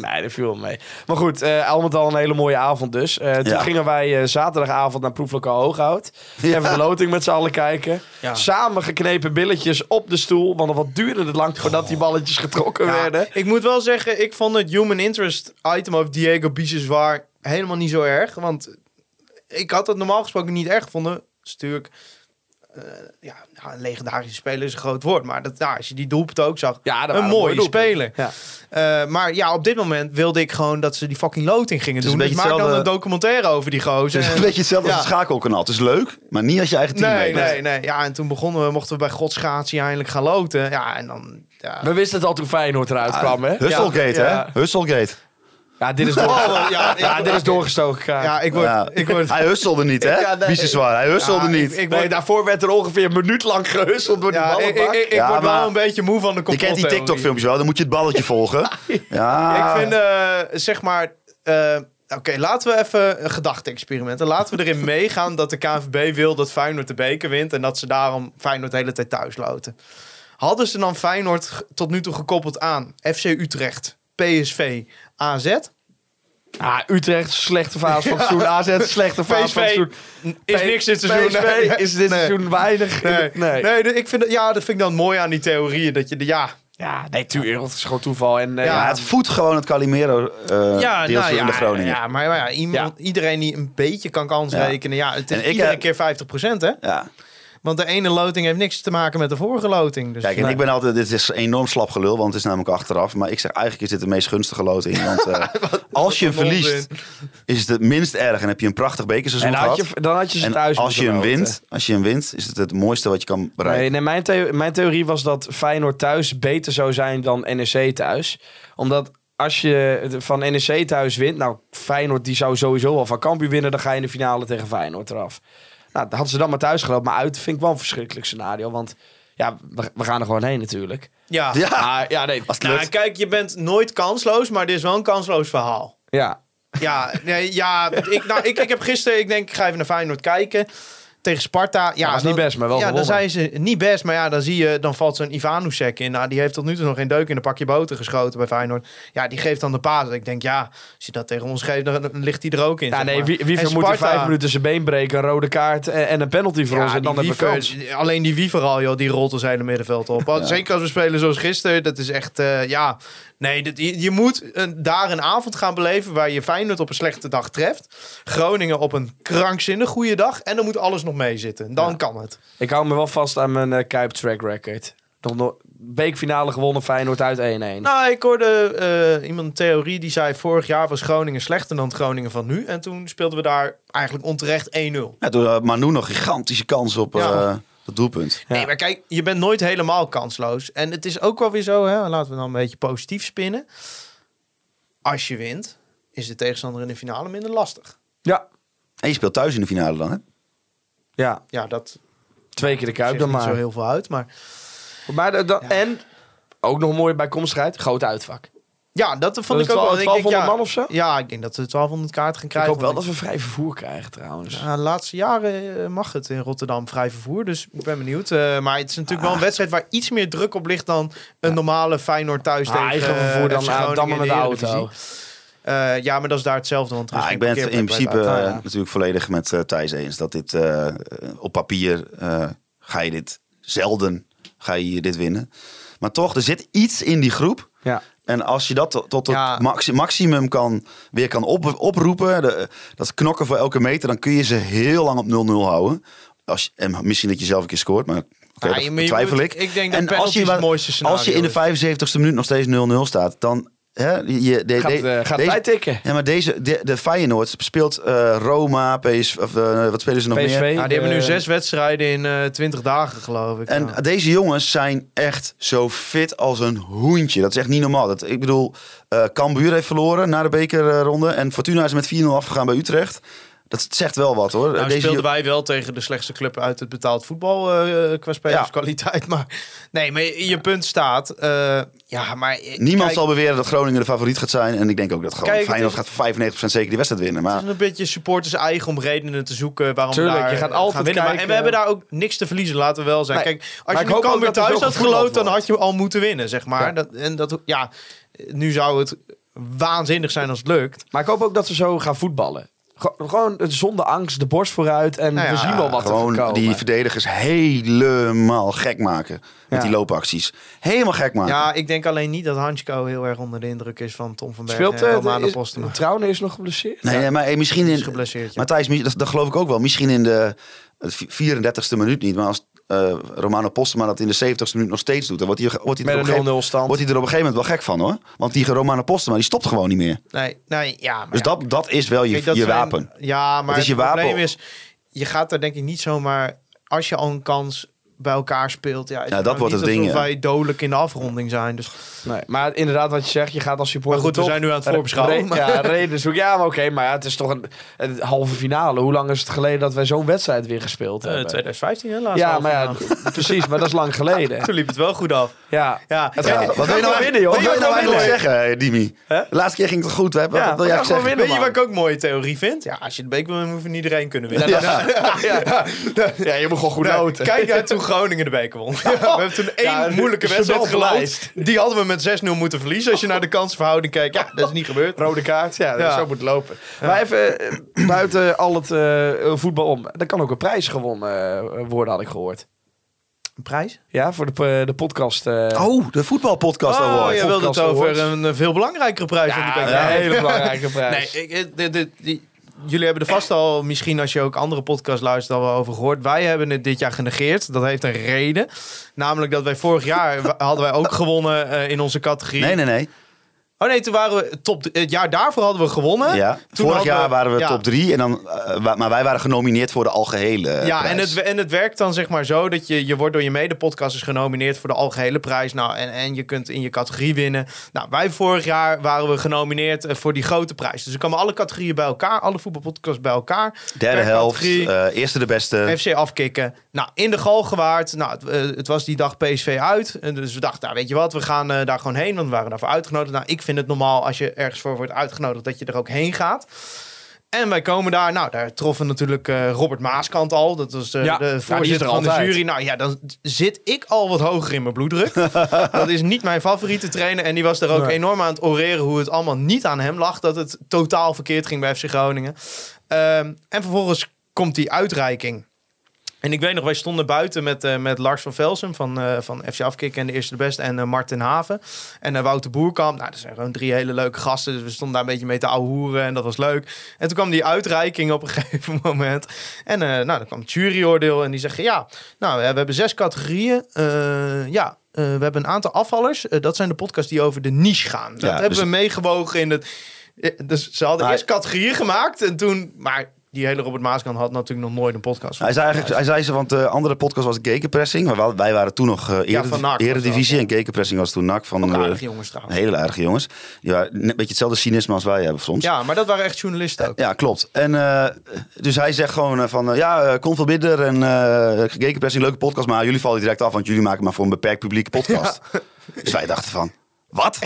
Nee, dat viel wel mee. Maar goed, eh al met al een hele mooie avond dus. Eh, toen
Ja.
gingen wij eh, zaterdagavond naar Proeflokaal Hooghout. Even de loting met z'n allen kijken.
Ja.
Samen geknepen billetjes op de stoel. Want wat duurde het lang voordat die balletjes getrokken
Oh. Ja,
werden.
Ik moet wel zeggen, ik vond het human interest item over Diego Biseswar helemaal niet zo erg. Want ik had het normaal gesproken niet erg gevonden. Dat is natuurlijk, eh, ja, nou, een legendarische speler is een groot woord. Maar dat, nou, als je die doelpunt ook zag,
Ja, dat waren
een mooie
doelpunten.
speler.
Ja.
Eh, maar ja, op dit moment wilde ik gewoon dat ze die fucking loting gingen
Het is
doen.
een
Dus
beetje
maak dan een
hetzelfde-
documentaire over die gozer.
Het is een beetje hetzelfde
Ja.
als het schakelkanaal. Het is leuk, maar niet als je eigen team
Nee,
mee bent.
nee, nee. Ja, en toen begonnen we, mochten we bij godsgratie eindelijk gaan loten. Ja, en dan... Ja,
We wisten het al toen Feyenoord eruit kwam, hè?
Husselgate,
Ja.
hè? Husselgate.
Ja, dit is, door...
Oh, ja,
ja, dit is doorgestoken. Kaak.
ja, ik word...
Ja.
Ik word
Hij hustelde niet, hè?
Ja, nee.
Wie ze zwaar, hij hustelde
Ja,
niet.
ik- ik
Nee,
word-
daarvoor werd er ongeveer een minuut lang gehusseld door
Ja,
die
ik,
ballenbak.
ik, ik
Ja,
word wel
maar-
een beetje moe van de
je
complottheorie.
kent die TikTok-filmpjes wel, dan moet je het balletje volgen. Ja,
Ik vind, eh, zeg maar... eh, Oké, laten we even een gedachte-experiment. En Laten we erin meegaan dat de KNVB wil dat Feyenoord de beker wint... en dat ze daarom Feyenoord de hele tijd thuis loten. Hadden ze dan Feyenoord g- tot nu toe gekoppeld aan FC Utrecht, PSV, AZ?
Ah, Utrecht, slechte fase van het seizoen. AZ, slechte fase van het
PSV
seizoen.
is
P-
niks dit seizoen.
PSV
Nee.
is dit
Nee.
seizoen weinig. in-
Nee, nee. dus ik vind, dat- ja, dat vind ik dan mooi aan die theorieën. Dat je, de- ja,
Ja, nee, tuurlijk. Het is gewoon toeval. En, eh,
Ja.
Ja, het voedt gewoon het Calimero eh
ja,
deels
nou
in de
ja,
Groningen. Ja.
Ja, maar, maar ja, iemand, iedereen die een beetje kan kans
Ja.
rekenen. Ja, het is
En ik eh,
iedere
heb-
keer 50%, hè? Want de ene loting heeft niks te maken met de vorige loting. Dus
Kijk, en ik ben altijd, dit is enorm slap gelul, want het is namelijk achteraf. Maar ik zeg, eigenlijk is dit de meest gunstige loting. Want eh, als je
wat een
verliest, is het het minst erg en heb je een prachtig bekerseizoen
en dan, had
gehad.
je, dan had je ze
en
thuis
als
moeten
je hem
loten.
wint, als je hem wint, is het het mooiste wat je kan bereiken.
Nee, nee mijn, theo- mijn theorie was dat Feyenoord thuis beter zou zijn dan NEC thuis. Omdat als je het van NEC thuis wint... Nou, Feyenoord die zou sowieso al van Cambuur winnen. Dan ga je in de finale tegen Feyenoord eraf. Nou, dat hadden ze dan maar thuis gelopen. Maar uit vind ik wel een verschrikkelijk scenario. Want ja, we, we gaan er gewoon heen natuurlijk.
ja.
Ja,
Ah, ja, nee.
als het
Nou,
lukt.
kijk, je bent nooit kansloos, maar dit is wel een kansloos verhaal.
Ja,
Ja, nee, ja ik, nou, ik, ik heb gisteren, ik denk, ik ga even naar Feyenoord kijken. tegen Sparta. Ja,
dat is niet
dan-
best, maar wel
Ja, dan zijn
gewonnen.
ze niet best. Maar ja, dan zie je, dan valt zo'n Ivanusek in. Nou, die heeft tot nu toe nog geen deuk in een pakje boter geschoten bij Feyenoord. Ja, die geeft dan de paas. Ik denk, ja, als je dat tegen ons geeft, dan, dan ligt die er ook in.
Ja,
zeg
nee,
maar.
wie,
En
wie moet er
Sparta-
vijf minuten zijn been breken, een rode kaart en, en een penalty voor ons. En dan
die
hebben we kans.
Wiever- Alleen die Wiever al, joh, die rolt ons hele middenveld op. Al-
Ja.
Zeker als we spelen zoals gisteren. Dat is echt, eh, ja... Nee, dit, je, je moet een, daar een avond gaan beleven waar je Feyenoord op een slechte dag treft. Groningen op een krankzinnig goede dag. En dan moet alles nog meezitten. Dan kan het.
Ik hou me wel vast aan mijn eh, Kuip track record. Nog, nog, beekfinale gewonnen, Feyenoord uit 1-1.
Nou, ik hoorde eh, iemand een theorie die zei... vorig jaar was Groningen slechter dan het Groningen van nu. En toen speelden we daar eigenlijk onterecht 1-0.
Ja, toen had Manu nog gigantische kans op
Ja.
eh, dat doelpunt.
Nee, maar kijk, je bent nooit helemaal kansloos. En het is ook wel weer zo, hè, laten we dan een beetje positief spinnen. Als je wint, is de tegenstander in de finale minder lastig.
ja.
En je speelt thuis in de finale dan, hè?
ja,
Ja, dat
twee keer de Kuip
ziet er
dan
niet zo
maar.
heel veel uit. Maar
maar de- de- En, ook nog een mooie bijkomstigheid, groot uitvak.
ja, dat vond
Dat
ik
is
ook wel.
12- 1200
ik denk, ja,
man of zo?
Ja, ik denk dat ze 1200 kaart gaan
Ik
krijgen.
hoop wel dat
want
we vrij vervoer krijgen trouwens.
ik- Ja, de laatste jaren eh, mag het in Rotterdam vrij vervoer. Dus ik ben benieuwd. Eh, maar het is natuurlijk
Ah.
wel een wedstrijd waar iets meer druk op ligt dan een normale Feyenoord thuis
Ah,
tegen
eigen vervoer
eh,
dan
FC
aan
Groningen
Dammen
in de
met de
Eredivisie.
auto.
Eh, ja, maar dat is daar hetzelfde. Want er is
Ah,
geen
ik ben het in
parkeerplek bij
principe
buiten.
buiten.
eh,
Ah, ja.
natuurlijk volledig met eh, Thijs eens. Dat dit eh, eh, op papier eh, ga je dit zelden ga je hier dit winnen. Maar toch, er zit iets in die groep.
Ja.
En als je dat tot, tot het
Ja.
maxi- maximum kan, weer kan op- oproepen, de- dat knokken voor elke meter, dan kun je ze heel lang op 0-0 houden. Als, je- en misschien dat je zelf een keer scoort, maar oké,
Ah,
dat
je- maar je
twijfel
moet-
ik.
ik denk dat
en
penalty
als je,
het
maar-
mooiste scenario
Als je in de
is.
75ste minuut nog steeds 0-0 staat, dan... Hè, je, de,
Gaat,
de-
eh, gaat
deze-
tijd tikken.
ja, maar deze, de, de Feyenoord speelt eh, Roma, PS, of, eh, wat spelen ze nog meer?
PSV.
Ja, Nou, die hebben nu
eh,
zes wedstrijden in eh 20 dagen, geloof ik.
Ehm, En
Ja.
deze jongens zijn echt zo fit als een hoentje. Dat is echt niet normaal. Dat, ik bedoel, eh Cambuur heeft verloren na de bekerronde. En Fortuna is met 4-0 afgegaan bij Utrecht. Dat zegt wel wat hoor.
nou,
deze
speelden
jo-
wij wel tegen de slechtste club uit het betaald voetbal eh, qua spelerskwaliteit. Maar nee, maar je punt staat. eh, ja, maar eh,
Niemand
kijk,
zal beweren dat Groningen de favoriet gaat zijn. En ik denk ook dat gewoon
Kijk, het
Feyenoord
is-
gaat voor 95% zeker die wedstrijd winnen. Maar
Het is een beetje supporters eigen om redenen te zoeken waarom we
Tuurlijk,
daar
je gaat
gaan
altijd
winnen. Maar- en we
kijken-
hebben daar ook niks te verliezen, laten we wel zijn.
Nee,
Kijk, als
maar
je
ik
nu
hoop ook
Cambuur
dat er
thuis
wel
had
gevoetbald
geloofd, dan
wordt.
had je al moeten winnen, zeg maar.
Ja.
Dat, en dat, ja, nu zou het waanzinnig zijn als het lukt.
Maar ik hoop ook dat ze zo gaan voetballen. Go- gewoon eh, zonder angst, de borst vooruit en
Nou ja,
we zien wel wat er gaat
gewoon
komen.
die verdedigers helemaal gek maken. Met
Ja.
die loopacties. Helemaal gek maken.
Ja, ik denk alleen niet dat Hansko heel erg onder de indruk is van Tom van Bergen
Speelt
en
eh,
Romano
is-
Postema.
Trouwne is nog geblesseerd.
Nee, nee, maar eh, misschien
Is
in.
geblesseerd, ja.
Maar Thijs, mi- dat, dat geloof ik ook wel. Misschien in de eh, vi- 34ste minuut niet. Maar als eh, Romano Postema dat in de 70ste minuut nog steeds doet, dan wordt hij, wordt, hij
Met
er
een
op een gegeven-
0-0 stand.
wordt hij er op een gegeven moment wel gek van hoor. Want die Romano Postema die stopt gewoon niet meer.
Nee, nee, ja. Maar
Dus
ja,
dat, dat is wel je,
kijk, dat
je
zijn-
wapen.
Ja, maar
is je
het probleem
wapen.
is, je gaat daar denk ik niet zomaar, als je al een kans bij elkaar speelt. Ja,
Ja, dat wordt het ding,
Dat
ja.
wij dodelijk in de afronding zijn. Dus
Nee, maar inderdaad, wat je zegt, je gaat als supporter.
Maar goed, we
toch-
zijn nu aan het
Re-
voorbeschouwen,
re-
maar-
Ja, reden zoek. Ja, maar oké, maar ja, het is toch een, een halve finale. Hoe lang is het geleden dat wij zo'n wedstrijd weer
Eh,
gespeeld hebben?
2015 helaas.
ja, maar ja, precies, maar dat is lang geleden.
Toen liep het wel goed af.
Ja,
Ja,
Het
ja,
gaat-
ja,
Wat wil je
wel
nou,
winnen, joh.
wat wil je
Gaat
nou
wel
eigenlijk
winnen.
zeggen, eh, Dimi?
Hè?
De laatste keer ging het goed. Hè? Wat,
Ja,
wat wil jij
we gaan gewoon
zeggen?
winnen.
Weet je wat
man.
ik ook een mooie theorie vind? Ja, als je de beek wil, winnen, moet van iedereen kunnen winnen.
Ja.
Ja. ja, je moet gewoon goed
Nou,
noten.
kijk uit toen Groningen de beker won. we hebben toen één
Ja,
moeilijke
een
wedstrijd
gênant
geloofd.
lijst.
Die hadden we met 6-0 moeten verliezen. Als je naar de kansenverhouding kijkt, ja, dat is niet gebeurd.
Rode kaart, ja,
Ja.
zo moet het lopen. Maar even eh, buiten al het eh, voetbal om. Er kan ook een prijs gewonnen eh, worden, had ik gehoord.
Een prijs?
Ja, voor de, p- de podcast. eh,
Oh, de voetbalpodcast
oh,
award.
je wilde het
Podcast
over
Awards.
een eh, veel belangrijkere prijs. dan die
ja,
Beek.
een hele belangrijke
Nee,
prijs.
ik, ik- dit- dit- die- jullie hebben er vast al, misschien als je ook andere podcasts luistert, al wel over gehoord. Wij hebben het dit jaar genegeerd. Dat heeft een reden. Namelijk dat wij vorig jaar wa- hadden wij ook gewonnen eh, in onze categorie.
Nee, nee, nee.
Oh nee, toen waren we top. d- Het jaar daarvoor hadden we gewonnen.
Ja.
Toen
Vorig
hadden
jaar waren we
ja.
top 3. eh, maar wij waren genomineerd voor de algehele eh,
Ja,
prijs.
en het, en het werkt dan zeg maar zo dat je, je wordt door je mede-podcasters genomineerd voor de algehele prijs. Nou, en, en je kunt in je categorie winnen. Nou, wij vorig jaar waren we genomineerd eh, voor die grote prijs. Dus er kwamen alle categorieën bij elkaar, alle voetbalpodcasts bij elkaar.
Derde
Per
helft,
categorie.
eh, eerste de beste.
FC afkikken. Nou, in de gal gewaard. Nou, het, eh, het was die dag PSV uit. En dus we dachten, nou, weet je wat, we gaan eh, daar gewoon heen. Want we waren daarvoor uitgenodigd. Nou, ik vind het normaal als je ergens voor wordt uitgenodigd dat je er ook heen gaat. En wij komen daar, nou, daar troffen natuurlijk eh, Robert Maaskant al. Dat was eh,
Ja, ja, die
de
is er
voorzitter van de
altijd.
jury. Nou ja, dan zit ik al wat hoger in mijn bloeddruk. dat is niet mijn favoriete trainer. En die was daar ook
Nee.
enorm aan het oreren hoe het allemaal niet aan hem lag. Dat het totaal verkeerd ging bij FC Groningen. Ehm, en vervolgens komt die uitreiking. En ik weet nog, wij stonden buiten met, eh, met Lars van Velsen van, eh, van FC Afkik en de Eerste de Beste en eh, Martin Haven. En eh, Wouter Boerkamp. Nou, dat zijn gewoon drie hele leuke gasten. Dus we stonden daar een beetje mee te ouwehoeren en dat was leuk. En toen kwam die uitreiking op een gegeven moment. En eh, nou, dan kwam het juryoordeel en die zeggen ja, nou, eh, we hebben zes categorieën. Eh, ja, eh, we hebben een aantal afvallers. Eh, dat zijn de podcasts die over de niche gaan. Dat
Ja,
hebben
dus-
we meegewogen in het... eh, Dus ze hadden
Maar-
eerst categorieën gemaakt en toen... Maar die hele Robert Maaskant had natuurlijk nog nooit een podcast.
Hij zei, eigenlijk, hij zei ze, want de andere podcast was Gekenpressing. Maar wel- wij waren toen nog eh
van NAC
erediv-
was
Eredivisie.
dat,
En Gekenpressing was toen NAC van
Ook
eh,
aardige jongens trouwens.
hele aardige jongens. Die waren net een beetje hetzelfde cynisme als wij hebben soms.
Ja, maar dat waren echt journalisten ook.
Ja, klopt. En eh, dus hij zegt gewoon eh, van, eh, ja, eh, kom veel bidder en eh Gekenpressing, leuke podcast, maar jullie vallen direct af, want jullie maken maar voor een beperkt publieke podcast. Dus wij dachten van, wat?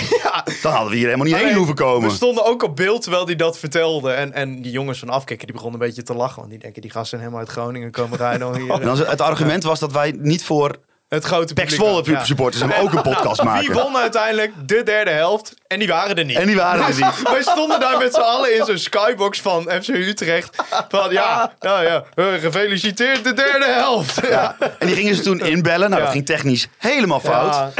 Dan hadden we hier helemaal niet heen
Alleen,
hoeven komen.
We stonden ook op beeld terwijl hij dat vertelde. En, en die jongens van Afkikken die begonnen een beetje te lachen. Want die denken, die gasten zijn helemaal uit Groningen komen rijden. om Hier, eh,
En als- het argument was dat wij niet voor
het
Pek
grote publiek.
Zwolle
ook, ja.
supporters zijn, maar ook een podcast
Die
maken.
won uiteindelijk de derde helft. En die waren er niet.
En die waren er niet.
Wij stonden daar met z'n allen in zo'n skybox van FC Utrecht. Van ja, nou ja, eh, gefeliciteerd de derde helft.
Ja. En die gingen ze toen inbellen. Nou, dat
Ja.
ging technisch helemaal fout.
Ja.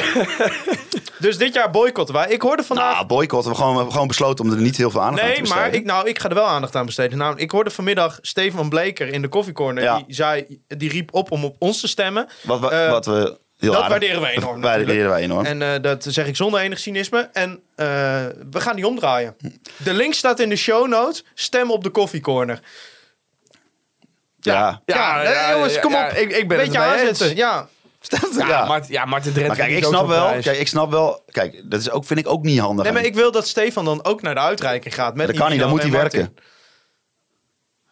dus dit jaar boycotten wij. Ik hoorde vandaag
Nou, boycott. We hebben gewoon, we hebben gewoon besloten om er niet heel veel aandacht aan te
Nee,
besteden.
maar ik, nou, ik ga er wel aandacht aan besteden. Namelijk, ik hoorde vanmiddag Stefan Bleker in de koffiecorner.
Ja.
Die, zei, die riep op om op ons te stemmen.
Wat, wat,
Eh,
wat we heel
dat
aardig-
waarderen we enorm,
Dat waarderen wij enorm.
En eh, dat zeg ik zonder enig cynisme. En eh, we gaan die omdraaien. De link staat in de show notes. Stem op de koffiecorner.
ja.
Ja, nee, jongens, kom op.
ik, ik ben
Beetje
het ermee eens.
aanzetten. Ja.
Ja,
Ja.
Mart- ja, Marten Drent.
Maar kijk,
verdient
ik
ook
snap
zo'n
wel.
prijs.
Kijk, ik snap wel. Kijk, dat is ook, vind ik ook niet handig.
Nee, maar
En
ik wil dat Stefan dan ook naar de uitreiking gaat. Met
dat kan niet, dan
Nino
moet hij
en Martin.
werken.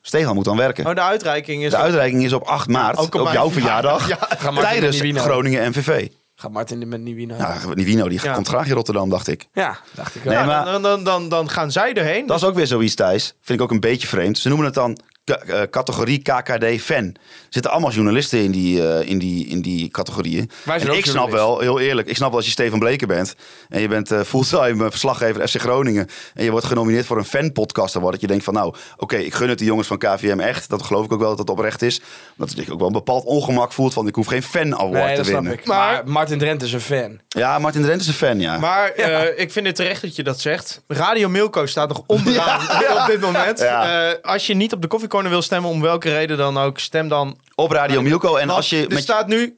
Stefan moet dan werken.
Oh, de uitreiking is...
de uitreiking is op 8 maart,
Ook
op,
op mijn
jouw verjaardag,
Ga Martin
tijdens
de Nivino.
Groningen MVV.
Gaat Martin met Nivino. Ja.
Ja, Nivino, Nou, die
Ja.
komt graag in Rotterdam, dacht ik.
ja, dacht ik wel.
Nee,
Ja,
maar-
dan, dan, dan, dan gaan zij erheen.
Dat is ook weer zoiets, Thijs. Vind ik ook een beetje vreemd. Ze noemen het dan k- eh, categorie KKD-fan. Er zitten allemaal journalisten in die, eh, in die, in die categorieën.
Wij zijn
en
ook
ik snap
journalist.
wel, heel eerlijk, ik snap wel als je Steven Bleken bent... en je bent eh, fulltime eh, verslaggever FC Groningen... en je wordt genomineerd voor een fanpodcast award... dat je denkt van nou, oké, ik gun het de jongens van KVM echt. Dat geloof ik ook wel dat dat oprecht is. Omdat je ook wel een bepaald ongemak voelt van... ik hoef geen fan-award
Nee,
te
dat snap
winnen.
ik. Maar,
Maar-
Martin Drent is een fan.
Ja, Martin Drent is een fan, ja.
Maar eh, ik vind het terecht dat je dat zegt. Radio Milko staat nog onderaan op dit moment.
Ja.
Eh, als je niet op de koffiecorner wil stemmen, om welke reden dan ook, stem dan.
Op Radio Milko. En als je
er
met...
staat nu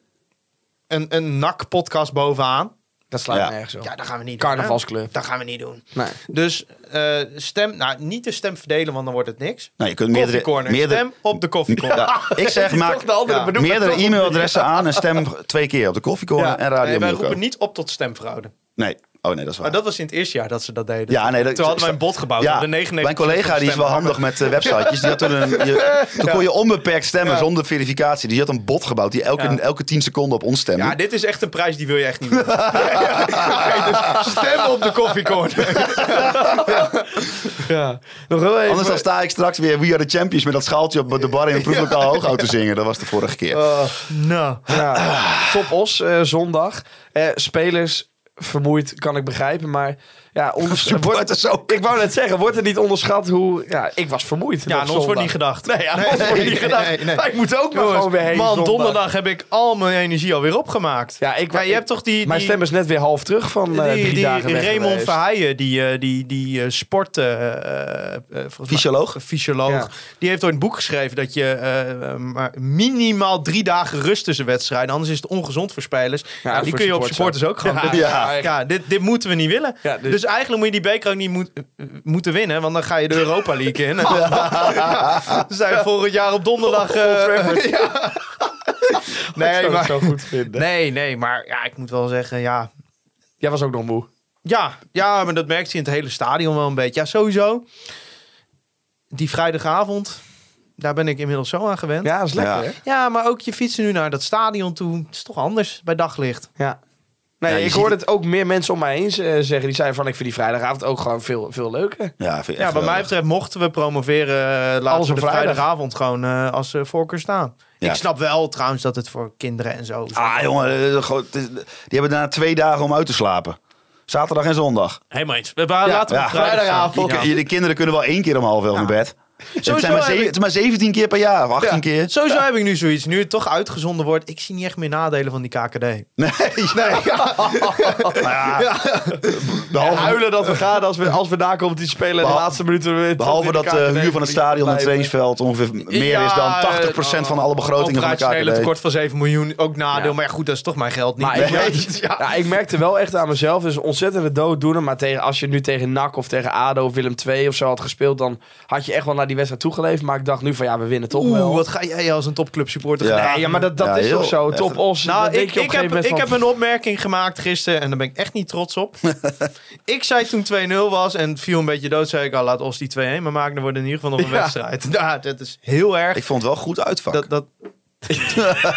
een, een NAC-podcast bovenaan.
Dat slaat
Ja.
nergens op.
Ja, dat gaan we niet doen.
Carnavalsclub.
hè? Dat gaan we niet doen.
Nee.
Dus eh, stem, nou niet de stem verdelen, want dan wordt het niks.
Nou, je kunt meerdere,
Koffiecorner,
meerdere,
stem op de koffiecorner.
Ja, ik zeg, maak
Ja.
ja, meerdere e-mailadressen aan en stem twee keer op de koffiecorner
Ja.
en Radio
nee, wij
Milko.
roepen niet op tot stemfraude.
Nee, oh nee, dat is waar.
Maar dat was in het eerste jaar dat ze dat deden.
Ja, nee, dat-
Toen hadden wij een bot gebouwd.
Ja,
de
mijn collega die is wel handig met eh, websitejes. Die had toen, een, je- toen kon je onbeperkt stemmen zonder verificatie. Die had een bot gebouwd die elke,
Ja.
elke 10 seconden op ons stemde.
Ja, dit is echt een prijs die wil je echt niet meer. dus stem op de koffiecorner.
Ja. Nog heel even.
Anders dan sta ik straks weer We Are The Champions met dat schaaltje op de bar in een proeflokaal hooghout te zingen. Dat was de vorige keer.
nou.
Ja. Top Os eh, zondag. Eh, spelers vermoeid, kan ik begrijpen. Maar ja, onders- wordt,
Supporters ook.
ik wou net zeggen, wordt het niet onderschat hoe... Ja, ik was vermoeid.
Ja, aan ons wordt niet gedacht. Nee, aan ons
wordt niet gedacht. Wij moeten ook maar gewoon weer heen
Man,
zondag.
donderdag heb ik al mijn energie alweer opgemaakt.
Ja, ik,
Ja, je
ik-
hebt toch die...
Mijn
die-
stem is net weer half terug van eh,
die,
drie
die
dagen weg
Raymond
geweest.
Verheijen, die, eh, die, die eh, sport... eh, eh, volgens mij-
Fysioloog?
fysioloog.
Ja.
Die heeft ooit een boek geschreven dat je eh, eh, maar minimaal drie dagen rust tussen wedstrijden. Anders is het ongezond voor spelers. Ja, die
voor
kun je op
supporters
supporters ook gewoon doen.
Ja.
echt.
Ja, dit, dit moeten we niet willen.
Ja,
dus...
dus-
eigenlijk moet je die beker ook niet moet- eh, moeten winnen, want dan ga je de Europa League in. En dan, ja, dan zijn we volgend jaar op donderdag. eh, ja.
Ik
nee,
zou het
maar,
zo goed vinden.
nee, nee, maar ja, ik moet wel zeggen, ja.
Jij was ook nog moe.
Ja, ja, maar dat merkt hij in het hele stadion wel een beetje. Ja, sowieso. Die vrijdagavond, daar ben ik inmiddels zo aan gewend.
Ja, dat is lekker,
Ja.
hè?
Ja, maar ook je fietsen nu naar dat stadion toe. Het is toch anders bij daglicht.
Ja. Nee,
Ja, je
ik
ziet
hoorde het ook meer mensen om mij heen eh, zeggen. Die zeiden van, ik vind die vrijdagavond ook gewoon veel, veel leuker.
Ja, vind ik echt
Ja, bij mij
geweldig.
betreft mochten we promoveren, eh, laten
Alles
we
op
de
vrijdag.
vrijdagavond gewoon eh, als eh, voorkeur staan.
Ja.
Ik snap wel trouwens dat het voor kinderen en zo...
Ah jongen, eh, gewoon- het is- die hebben daarna twee dagen om uit te slapen. Zaterdag en zondag.
Helemaal eens. We, we- laten we
ja.
op vrijdagavond.
Je, je- de kinderen kunnen wel één keer om half elf naar bed. Het, zijn maar
heb
ze-
ik-
het is maar 17 keer per jaar, of 18 keer.
Sowieso heb ik nu zoiets. Nu het toch uitgezonden wordt, ik zie niet echt meer nadelen van die KKD.
Nee, nee. ja,
En
Behalve,
huilen dat we gaan als we, als we na competitie spelen. en de
Behal-
laatste minuten weer...
behalve dat de huur van het stadion en het trainingsveld ongeveer meer
Ja,
is dan
eh,
80% van alle begrotingen van elkaar.
Operationele tekort van 7 miljoen, ook nadeel. Maar ja, goed, dat is toch mijn geld niet.
Maar ik,
Ja, dus,
merkte,
ja.
ja, ik merkte wel echt aan mezelf, dus ontzettende dooddoener. Maar tegen, als je nu tegen NAC of tegen ADO of Willem II of zo had gespeeld... dan had je echt wel naar die wedstrijd toegeleefd. Maar ik dacht nu van, ja, we winnen toch wel.
Oeh, wat ga jij als een topclub supporter
Ja.
gedaan?
Nee, ja, maar dat, dat
Ja,
is
heel
toch zo.
echt.
Top os.
Nou,
dat denk
ik,
je op
ik,
een gegeven
heb,
moment
ik
van-
heb een opmerking gemaakt gisteren en daar ben ik echt niet trots op. ik zei toen 2-0 was en het viel een beetje dood, zei ik al, laat ons die 2-1 maar maken, dan wordt het in ieder geval nog een
Ja.
wedstrijd. Ja, dat is heel erg.
Ik vond het wel goed uitvak.
dat, dat...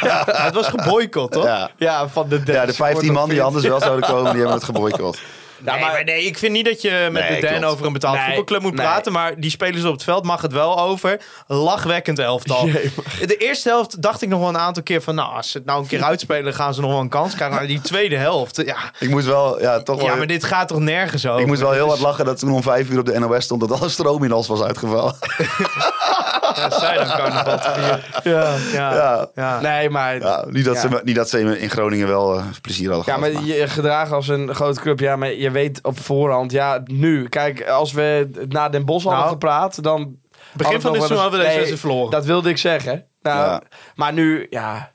Ja, het was geboycott, toch?
ja.
Ja, van de
ja, de 15 man die anders wel zouden komen, die hebben het geboycott.
nee, maar, nee, ik vind niet dat je met
Nee,
de Dan
klopt.
over een betaald
Nee,
voetbalclub moet
nee.
praten. Maar die spelers op het veld mag het wel over. Lachwekkend elftal. De eerste helft dacht ik nog wel een aantal keer van... Nou, als ze het nou een keer uitspelen, gaan ze nog wel een kans krijgen. Maar die tweede helft, ja.
Ik moest wel, ja, toch wel...
Ja, maar dit gaat toch nergens over?
ik moest wel heel hard lachen dat toen om vijf uur op de NOS stond dat alle stroom in ons was uitgevallen.
Ja, zij dan carnaval te vieren.
Ja.
Ja, ja.
Ja.
Nee, maar... Ja.
Ja, niet, dat
Ja.
Ze, me- niet dat ze me in Groningen wel eh, plezier hadden gehad.
maar je gedragen als een grote club, ja, maar je weet op voorhand, ja, nu. Kijk, als we na Den Bosch hadden
Nou,
gepraat, dan...
Begin van dit seizoen hadden we deze wedstrijd verloren.
Dat wilde ik zeggen. Nou,
Ja.
Maar nu, ja,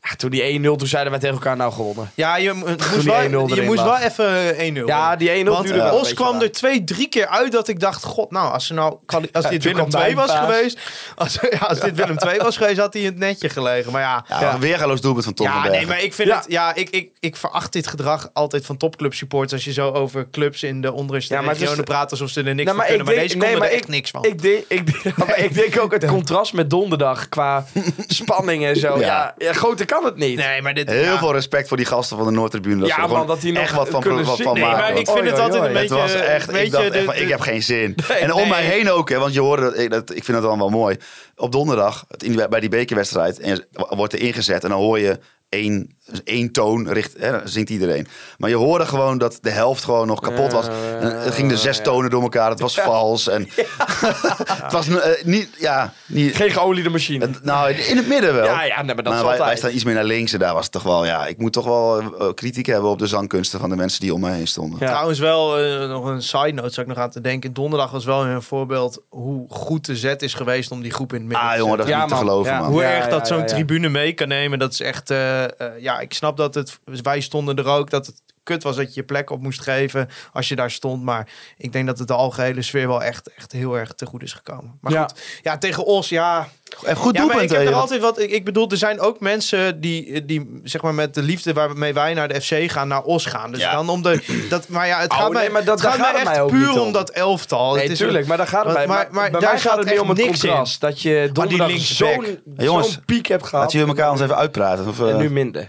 ja, toen die 1-0, toen zeiden wij tegen elkaar, nou, gewonnen.
ja, je mo- moest,
die 1-0
wel, je
erin
moest wel
lag.
even eh, 1-0.
Ja, die 1-0
Want
duurde wel een
Os
beetje
kwam
lang.
er twee, drie keer uit dat ik dacht... God, nou, als, ze nou, kwali- als dit
toen
Willem
kwam
2 was
Dijkbaas.
geweest... Als, ja, als dit Willem 2 was geweest, had hij in het netje gelegen. Maar ja...
Ja, een weergaloos doelpunt van Tom van
Ja,
Bergen.
nee, maar ik vind
Ja.
het. Ja, ik, ik, ik veracht dit gedrag altijd van topclub supporters. Als je zo over clubs in de onrust
Ja,
en
maar het is-
regionen praat alsof ze er niks
Nou,
van
maar ik
kunnen. Maar
denk-
deze
nee,
konden
maar
er echt
ik-
niks van.
Ik denk, ik, denk- maar ik denk ook het contrast met donderdag qua spanning en zo. Ja,
Ja.
ja, groter kan het niet.
Nee, maar dit.
Heel
ja.
veel respect voor die gasten van de Noordtribune. Dat
Ja,
ze er
man,
gewoon
dat die nog
echt wat van,
kunnen
wat
zien.
van
Nee,
maken.
maar ik
hoor.
vind
Oei,
het
oei,
altijd
oei.
een
het
beetje.
was echt,
weet
ik dacht
je,
echt van,
de-
ik heb geen zin.
Nee,
en om
nee.
mij heen ook, hè, want je hoorde, dat, ik, dat, ik vind dat dan wel mooi. Op donderdag, het- in die- bij die bekerwedstrijd, en, wordt er ingezet en dan hoor je één, één toon, richt, hè, dan zingt iedereen. Maar je hoorde gewoon dat de helft gewoon nog kapot was. En het ging de zes tonen door elkaar, het was vals. En, het was eh, niet, ja, niet,
Geen geoliede machine.
het- Nou, in het midden wel.
Ja, ja, nee, maar dat is
wij, wij
altijd.
staan iets meer naar links en daar was het toch wel... Ja, ik moet toch wel eh, kritiek hebben op de zangkunsten van de mensen die om mij heen stonden.
Ja.
Trouwens wel, eh, nog een side note zou ik nog aan te denken. Donderdag was wel weer een voorbeeld hoe goed de zet is geweest om die groep in het midden
Ah
te
jongen, dat is
Ja,
niet
man.
te geloven
Ja.
man.
Hoe
Ja,
erg
ja,
dat zo'n
ja, ja.
tribune mee kan nemen, dat is echt... eh, eh, ja, ik snap dat het... Wij stonden er ook, dat het kut was dat je je plek op moest geven als je daar stond. Maar ik denk dat het de algehele sfeer wel echt, echt heel erg te goed is gekomen. Maar
Ja.
goed, ja, tegen Os, ja...
En goed
Ja, maar ik
doelpunt,
heb
hè,
er
joh.
altijd wat... Ik, ik bedoel, er zijn ook mensen die, die, zeg maar, met de liefde waarmee wij naar de FC gaan, naar Os gaan. Dus
Ja.
dan om de... Dat, maar ja, het
Oh,
gaat
nee,
mij,
maar dat-
het
daar
gaat mij
gaat het
echt
mij ook niet
puur
om.
om dat elftal.
Nee,
het is
tuurlijk, maar daar gaat het bij.
Want-
Maar,
maar- maar
bij
daar
mij gaat
gaat
het meer
echt
om het
niks in.
contrast. Dat je donderdag
linksback.
zo'n
Hey, jongens,
zo'n piek hebt gehad.
Laten jullie elkaar ons even uitpraten. Of, eh,
En nu minder.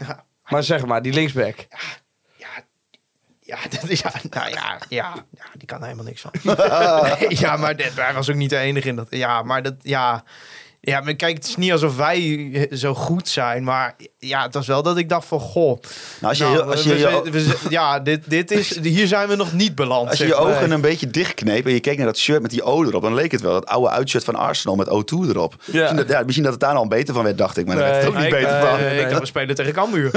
Maar zeg maar, die linksback.
Ja, dat, ja, nou ja, ja, ja, die kan er helemaal niks van. Nee, ja, maar dit, hij was ook niet de enige in dat. Ja, maar dat, ja. Ja, maar kijk, het is niet alsof wij eh, zo goed zijn, maar ja, het was wel dat ik dacht van, goh.
nou, als je,
nou,
je- als je,
we-
je,
we- we- ja, dit, dit is, hier zijn we nog niet beland.
als je,
zeg
je
maar.
ogen een beetje dichtkneep en je keek naar dat shirt met die O erop, dan leek het wel. Dat oude uitshirt van Arsenal met O2 erop. Misschien, dat, ja, misschien dat het daar al beter van werd, dacht ik. Maar daar werd het ook
Nee,
niet
ik,
beter
eh,
van.
ik dacht, we spelen tegen Cambuur.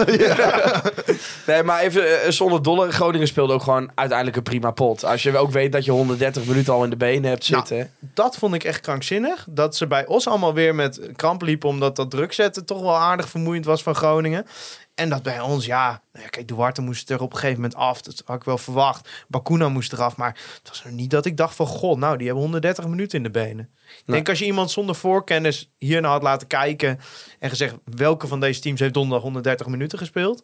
Nee, maar even eh, zonder dolle. Groningen speelde ook gewoon uiteindelijk een prima pot. Als je ook weet dat je 130 minuten al in de benen hebt
Nou,
zitten.
dat vond ik echt krankzinnig. Dat ze bij Os allemaal weer met kramp liepen. Omdat dat druk zetten toch wel aardig vermoeiend was van Groningen. En dat bij ons, ja. Nou ja kijk, Duarte moest er op een gegeven moment af. Dat had ik wel verwacht. Bakuna moest eraf. Maar het was nog niet dat ik dacht van... God, nou, die hebben 130 minuten in de benen. Ik denk als je iemand zonder voorkennis hiernaar had laten kijken... en gezegd welke van deze teams heeft donderdag 130 minuten gespeeld...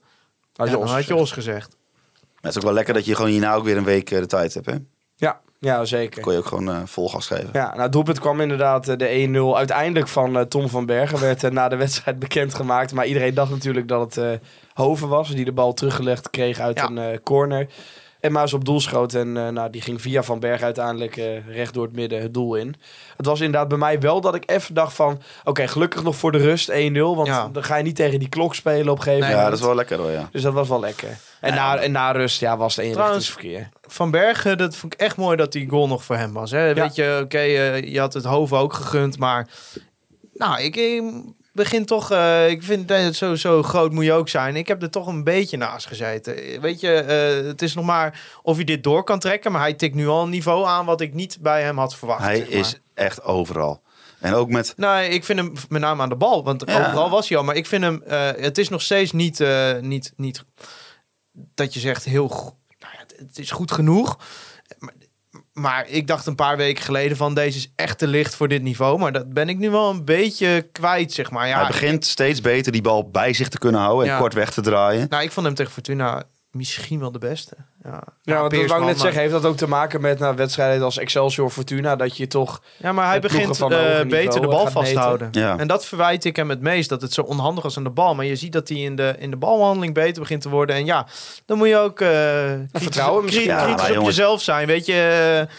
Had je
ja, dan
ons
had je
gezegd.
Os gezegd.
Maar Het is ook wel lekker dat je gewoon hierna ook weer een week eh, de tijd hebt, hè?
Ja, ja zeker.
Kon je ook gewoon eh vol gas geven.
Ja, nou, het doelpunt kwam inderdaad eh, de 1-0 uiteindelijk van eh, Tom van Bergen. Werd eh, na de wedstrijd bekendgemaakt. Maar iedereen dacht natuurlijk dat het eh, Hoven was. Die de bal teruggelegd kreeg uit
Ja.
een eh, corner. En Maas op doel schoot. En eh, nou, die ging via Van Bergen uiteindelijk eh, recht door het midden het doel in. Het was inderdaad bij mij wel dat ik even dacht van... Oké, gelukkig nog voor de rust 1-0. Want
Ja.
dan ga je niet tegen die klok spelen op een gegeven
Nee,
Ja,
moment.
dat is wel lekker hoor, ja.
Dus dat was wel lekker. En, na, en na rust ja, was het
Trouwens-
eenrichtingsverkeer.
Van Bergen, dat vond ik echt mooi dat die goal nog voor hem was. Hè? Weet je, oké, eh, je had het hoofd ook gegund, maar... Nou, ik eh, begin toch... eh, ik vind dat het zo, zo groot moet je ook zijn. Ik heb er toch een beetje naast gezeten. Weet je, eh, het is nog maar of je dit door kan trekken, maar hij tikt nu al een niveau aan wat ik niet bij hem had verwacht.
Hij
zeg maar.
is echt overal. En ook met...
Nou, ik vind hem met name aan de bal. Want
Ja.
overal was hij al. Maar ik vind hem... eh, het is nog steeds niet, eh, niet, niet... Dat je zegt heel... go- Nou ja, het- het is goed genoeg. Maar, maar ik dacht een paar weken geleden van... Deze is echt te licht voor dit niveau. Maar dat ben ik nu wel een beetje kwijt, zeg maar. Ja,
Nou,
hij begint steeds beter die bal bij zich te kunnen houden en
Ja.
kort weg te draaien.
Nou, ik vond hem tegen Fortuna misschien wel de beste.
Ja,
Ja,
want dat wou
Peersman,
ik net
maar-
zeggen. Heeft dat ook te maken met nou, wedstrijden als Excelsior Fortuna? Dat je toch...
Ja, maar hij
met ploegen
begint
van een
eh,
hoger niveau
beter de
het
bal
gaat
vast te
meten.
houden.
Ja.
En dat verwijt ik hem het meest, dat het zo onhandig was aan de bal. Maar je ziet dat hij in de, in de balhandeling beter begint te worden. En ja, dan moet je ook eh, kritisch-
vertrouwen
kri-
misschien.
Ja,
kritisch
maar
op
jongens-
jezelf zijn. Weet je, eh,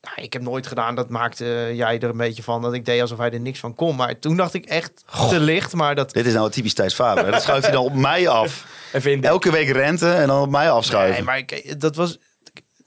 nou, ik heb nooit gedaan, dat maakte eh, jij er een beetje van. Dat ik deed alsof hij er niks van kon. Maar toen dacht ik echt te licht. Maar dat,
Dit is nou typisch Thijs Faber. hè. Dat schuift hij dan op mij af.
Even in de
Elke week rente en dan op mij afschuiven.
Nee, maar ik, dat was.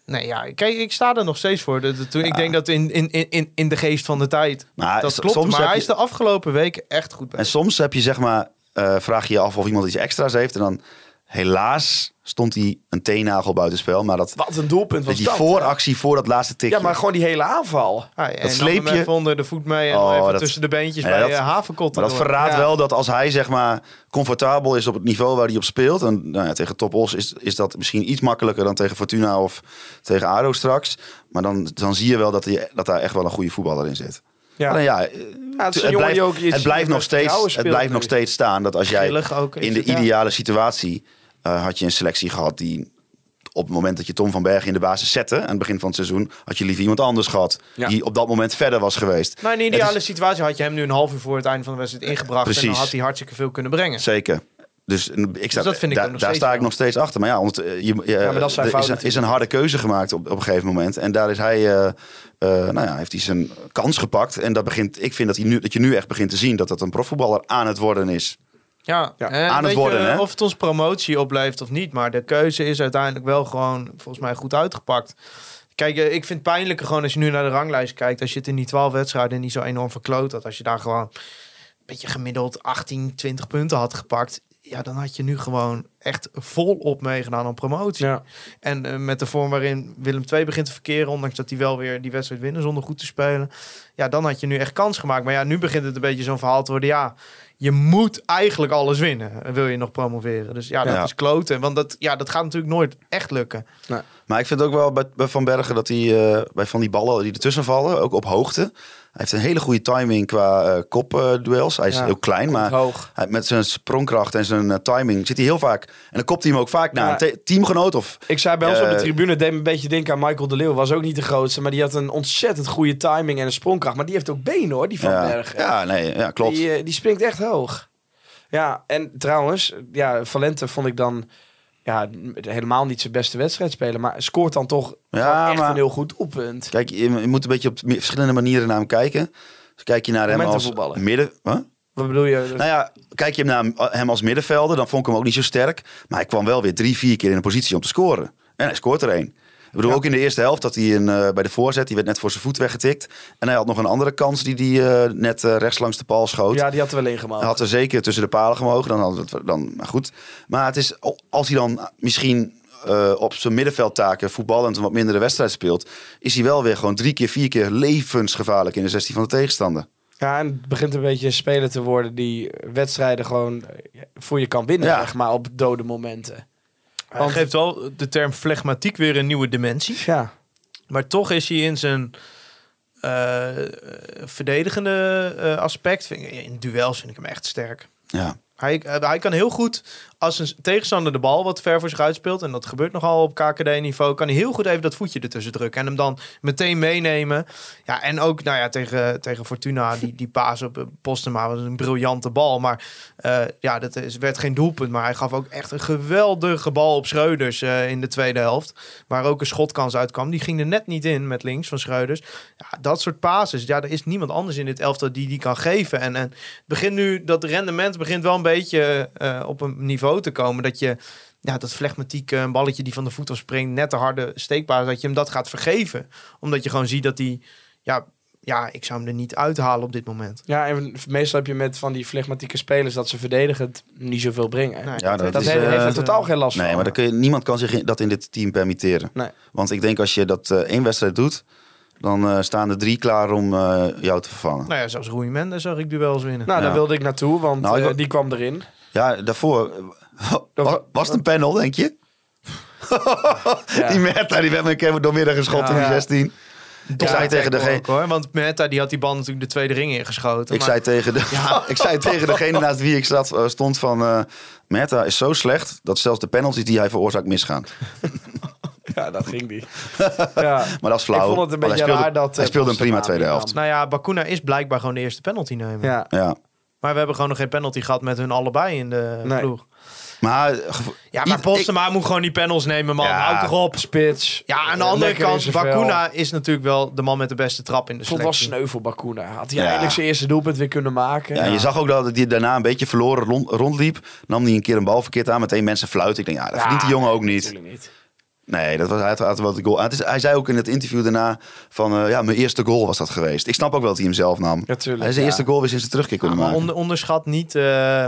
Nee, ja, kijk, ik sta er nog steeds voor. Dat, dat- toen, Ik denk dat in, in, in, in de geest van de tijd.
Maar
dat
s-
klopt.
soms
maar
heb
hij
je-
is de afgelopen weken echt goed bij.
En soms heb je zeg maar, eh, vraag je je af of iemand iets extra's heeft. En dan helaas stond hij een teennagel buitenspel. Maar dat,
Wat een doelpunt was
dat die
dat.
vooractie voor dat laatste tikje.
Ja, maar gewoon die hele aanval.
Ah, ja, en
dat sleep
dan hem
je-
even onder de voet mee en
Oh,
dan even
dat-
tussen de beentjes
Ja,
bij
dat-
eh, havenkotten.
Maar dat
door.
verraadt
Ja.
wel dat als hij zeg maar comfortabel is op het niveau waar hij op speelt. En nou ja, tegen Top Os is, is dat misschien iets makkelijker dan tegen Fortuna of tegen Aro straks. Maar dan, dan zie je wel dat, hij, dat daar echt wel een goede voetballer in zit.
Ja.
Alleen ja, eh,
Ja, het is een
het
jongen
blijft,
die ook- je
het
ziet
blijft,
hem
nog,
met vertrouwen
steeds, het
speelt
blijft nog
nu.
steeds staan dat als jij
Grillig ook is
in de
het, ja.
ideale situatie eh, had je een selectie gehad die op het moment dat je Tom van Bergen in de basis zette aan het begin van het seizoen, had je liever iemand anders gehad
Ja.
die op dat moment verder was geweest.
Nou, in de
Het is- Eh,
ideale situatie had je hem nu een half uur voor het einde van de wedstrijd ingebracht. En dan
Precies.
had hij hartstikke veel kunnen brengen.
Zeker. Dus en ik sta,
dat vind ik
daar-
ook nog
daar
steeds
sta ik
wel.
nog steeds achter. Maar ja, want, eh, je, je-
maar dat is zijn
er
fout
is, een, is een harde keuze gemaakt op, op een gegeven moment. En daar is hij, eh, eh, nou ja, heeft hij zijn kans gepakt. En dat begint, ik vind dat, hij nu, dat je nu echt begint te zien dat dat een profvoetballer aan het worden is.
Ja,
Ja,
en
aan
weet
het
je,
worden, hè?
Of het ons promotie oplevert of niet. Maar de keuze is uiteindelijk wel gewoon volgens mij goed uitgepakt. Kijk, eh, ik vind het pijnlijker gewoon als je nu naar de ranglijst kijkt. Als je het in die 12 wedstrijden niet zo enorm verkloot had. Als je daar gewoon een beetje gemiddeld 18, 20 punten had gepakt. Ja, dan had je nu gewoon echt volop meegedaan aan promotie.
Ja.
En eh, met de vorm waarin Willem II begint te verkeren, ondanks dat hij wel weer die wedstrijd winnen zonder goed te spelen. Ja, dan had je nu echt kans gemaakt. Maar ja, nu begint het een beetje zo'n verhaal te worden. Ja, je moet eigenlijk alles winnen. eh, Wil je nog promoveren? Dus ja, dat
Ja.
is kloten. Want dat, ja, dat gaat natuurlijk nooit echt lukken.
Maar ik vind ook wel bij, bij Van Bergen dat hij eh, bij van die ballen die ertussen vallen, ook op hoogte. Hij heeft een hele goede timing qua eh, kopduels. hij is
Ja,
heel klein, maar
hoog.
hij- met zijn sprongkracht en zijn eh, timing zit hij heel vaak. En dan kopt hij hem ook vaak naar
Ja.
een te- teamgenoot of
Ik zei bij ons op de
Eh,
tribune, het deed me een beetje denken aan Michael de Leeuw. Was ook niet de grootste, maar die had een ontzettend goede timing en een sprongkracht. Maar die heeft ook benen hoor, die Van
ja.
Bergen.
Ja, nee, ja, klopt.
Die, eh, die springt echt hoog. Ja, en trouwens, ja, Valente vond ik dan ja, helemaal niet zijn beste wedstrijd spelen. Maar scoort dan toch
Ja,
echt
maar-
een heel goed doelpunt.
Kijk, je, je moet een beetje op me- verschillende manieren naar hem kijken. Dus kijk je naar hem als
Momentumvoetballer.
midden... Huh?
Wat bedoel je?
Nou ja, kijk je hem naar hem als middenvelder, dan vond ik hem ook niet zo sterk. Maar hij kwam wel weer drie, vier keer in een positie om te scoren. En hij scoort er één. Ik bedoel, ook in de eerste helft dat hij een, eh, bij de voorzet, die werd net voor zijn voet weggetikt. En hij had nog een andere kans die, die hij net eh, rechts langs de paal schoot.
ja, die had er wel ingemaakt.
Hij had er zeker tussen de palen gemogen. Dan hadden we het dan maar goed. Maar het is als hij dan misschien eh, op zijn middenveldtaken voetballend een wat mindere wedstrijd speelt, is hij wel weer gewoon drie keer, vier keer levensgevaarlijk in de 16 van de tegenstander.
Ja, en het begint een beetje een speler te worden die wedstrijden gewoon eh, voor je kan winnen,
Ja.
zeg maar, op dode momenten.
Hij geeft wel de term flegmatiek weer een nieuwe dimensie.
Ja,
Maar toch is hij in zijn eh, verdedigende eh, aspect, vind ik- in duels vind ik hem echt sterk.
Ja.
Hij, eh, hij kan heel goed, als een tegenstander de bal wat ver voor zich uitspeelt... en dat gebeurt nogal op KKD-niveau... kan hij heel goed even dat voetje ertussen drukken... en hem dan meteen meenemen. Ja, en ook nou ja, tegen, tegen Fortuna, die, die paas op eh, Postema... was een briljante bal, maar eh, ja, dat is, werd geen doelpunt. Maar hij gaf ook echt een geweldige bal op Schreuders eh, in de tweede helft... waar ook een schotkans uitkwam. Die ging er net niet in met links van Schreuders. Ja, dat soort pases. Ja, er is niemand anders in dit elftal die die kan geven. En, en het begint nu, dat rendement begint wel een beetje eh, op een niveau te komen. Dat je ja, dat flegmatieke een balletje die van de voet af springt, net de harde steekbaar, dat je hem dat gaat vergeven. Omdat je gewoon ziet dat hij, ja, ja, ik zou hem er niet uithalen op dit moment.
Ja, en meestal heb je met van die flegmatieke spelers dat ze verdedigend niet zoveel brengen.
Nee.
Ja, dat
Dat
is,
heeft,
eh,
heeft er totaal geen last
Nee,
van.
maar dan kun je, niemand kan zich in- dat in dit team permitteren.
Nee.
Want ik denk als je dat eh, één wedstrijd doet, dan eh, staan er drie klaar om eh, jou te vervangen.
Nou ja, zelfs Rui Mendes zag ik duels winnen.
Nou, daar
Ja.
wilde ik naartoe, want
Nou, ik
eh,
wa-
die kwam erin.
Ja, daarvoor. eh, wa- wa- Was het een panel, denk je? die Meta, die werd me een keer doormidden geschopt in
Ja.
die 16. Ik zei tegen
de
degene,
ook, hoor, want Meta die had die bal natuurlijk de tweede ring ingeschoten.
Ik
maar-
zei, tegen de, ik zei tegen degene naast wie ik zat, eh, stond van... eh Meta is zo slecht dat zelfs de penalties die hij veroorzaakt misgaan.
Ja, dat ging die. ja.
Maar dat is flauw.
Ik vond het een
want
beetje
hij speelde,
raar dat...
Hij
eh,
speelde een prima
Postema
tweede
die
helft.
Nou ja, Bakuna is blijkbaar gewoon de eerste penalty nemen.
nam. Ja.
Ja.
Maar we hebben gewoon nog geen penalty gehad met hun allebei in de
Nee.
ploeg.
Maar, eh, gevo-
Ja, maar
ik-
Postema moet gewoon die panels nemen, man.
Ja.
Houd toch op.
Spits.
Eh,
Ja, aan de andere
Lekker in
kant,
zijn vel.
Bakuna is natuurlijk wel de man met de beste trap in de
Ik vond het wel
selectie.
sneu voor Bakuna. Had hij
Ja.
eindelijk zijn eerste doelpunt weer kunnen maken.
Ja, en Je zag ook dat hij daarna een beetje verloren rond, rondliep. Nam hij een keer een bal verkeerd aan. Meteen mensen fluiten. Ik denk, ja, dat verdient die jongen ook niet.
Natuurlijk niet.
Nee, dat was hij had- had wel de goal. En het is, hij zei ook in het interview daarna van, eh, ja, mijn eerste goal was dat geweest. Ik snap ook wel dat hij hem zelf nam.
Ja, tuurlijk,
hij is de
ja.
eerste goal weer sinds zijn terugkeer
Ja,
kunnen
maar
maken.
onder- onderschat niet eh,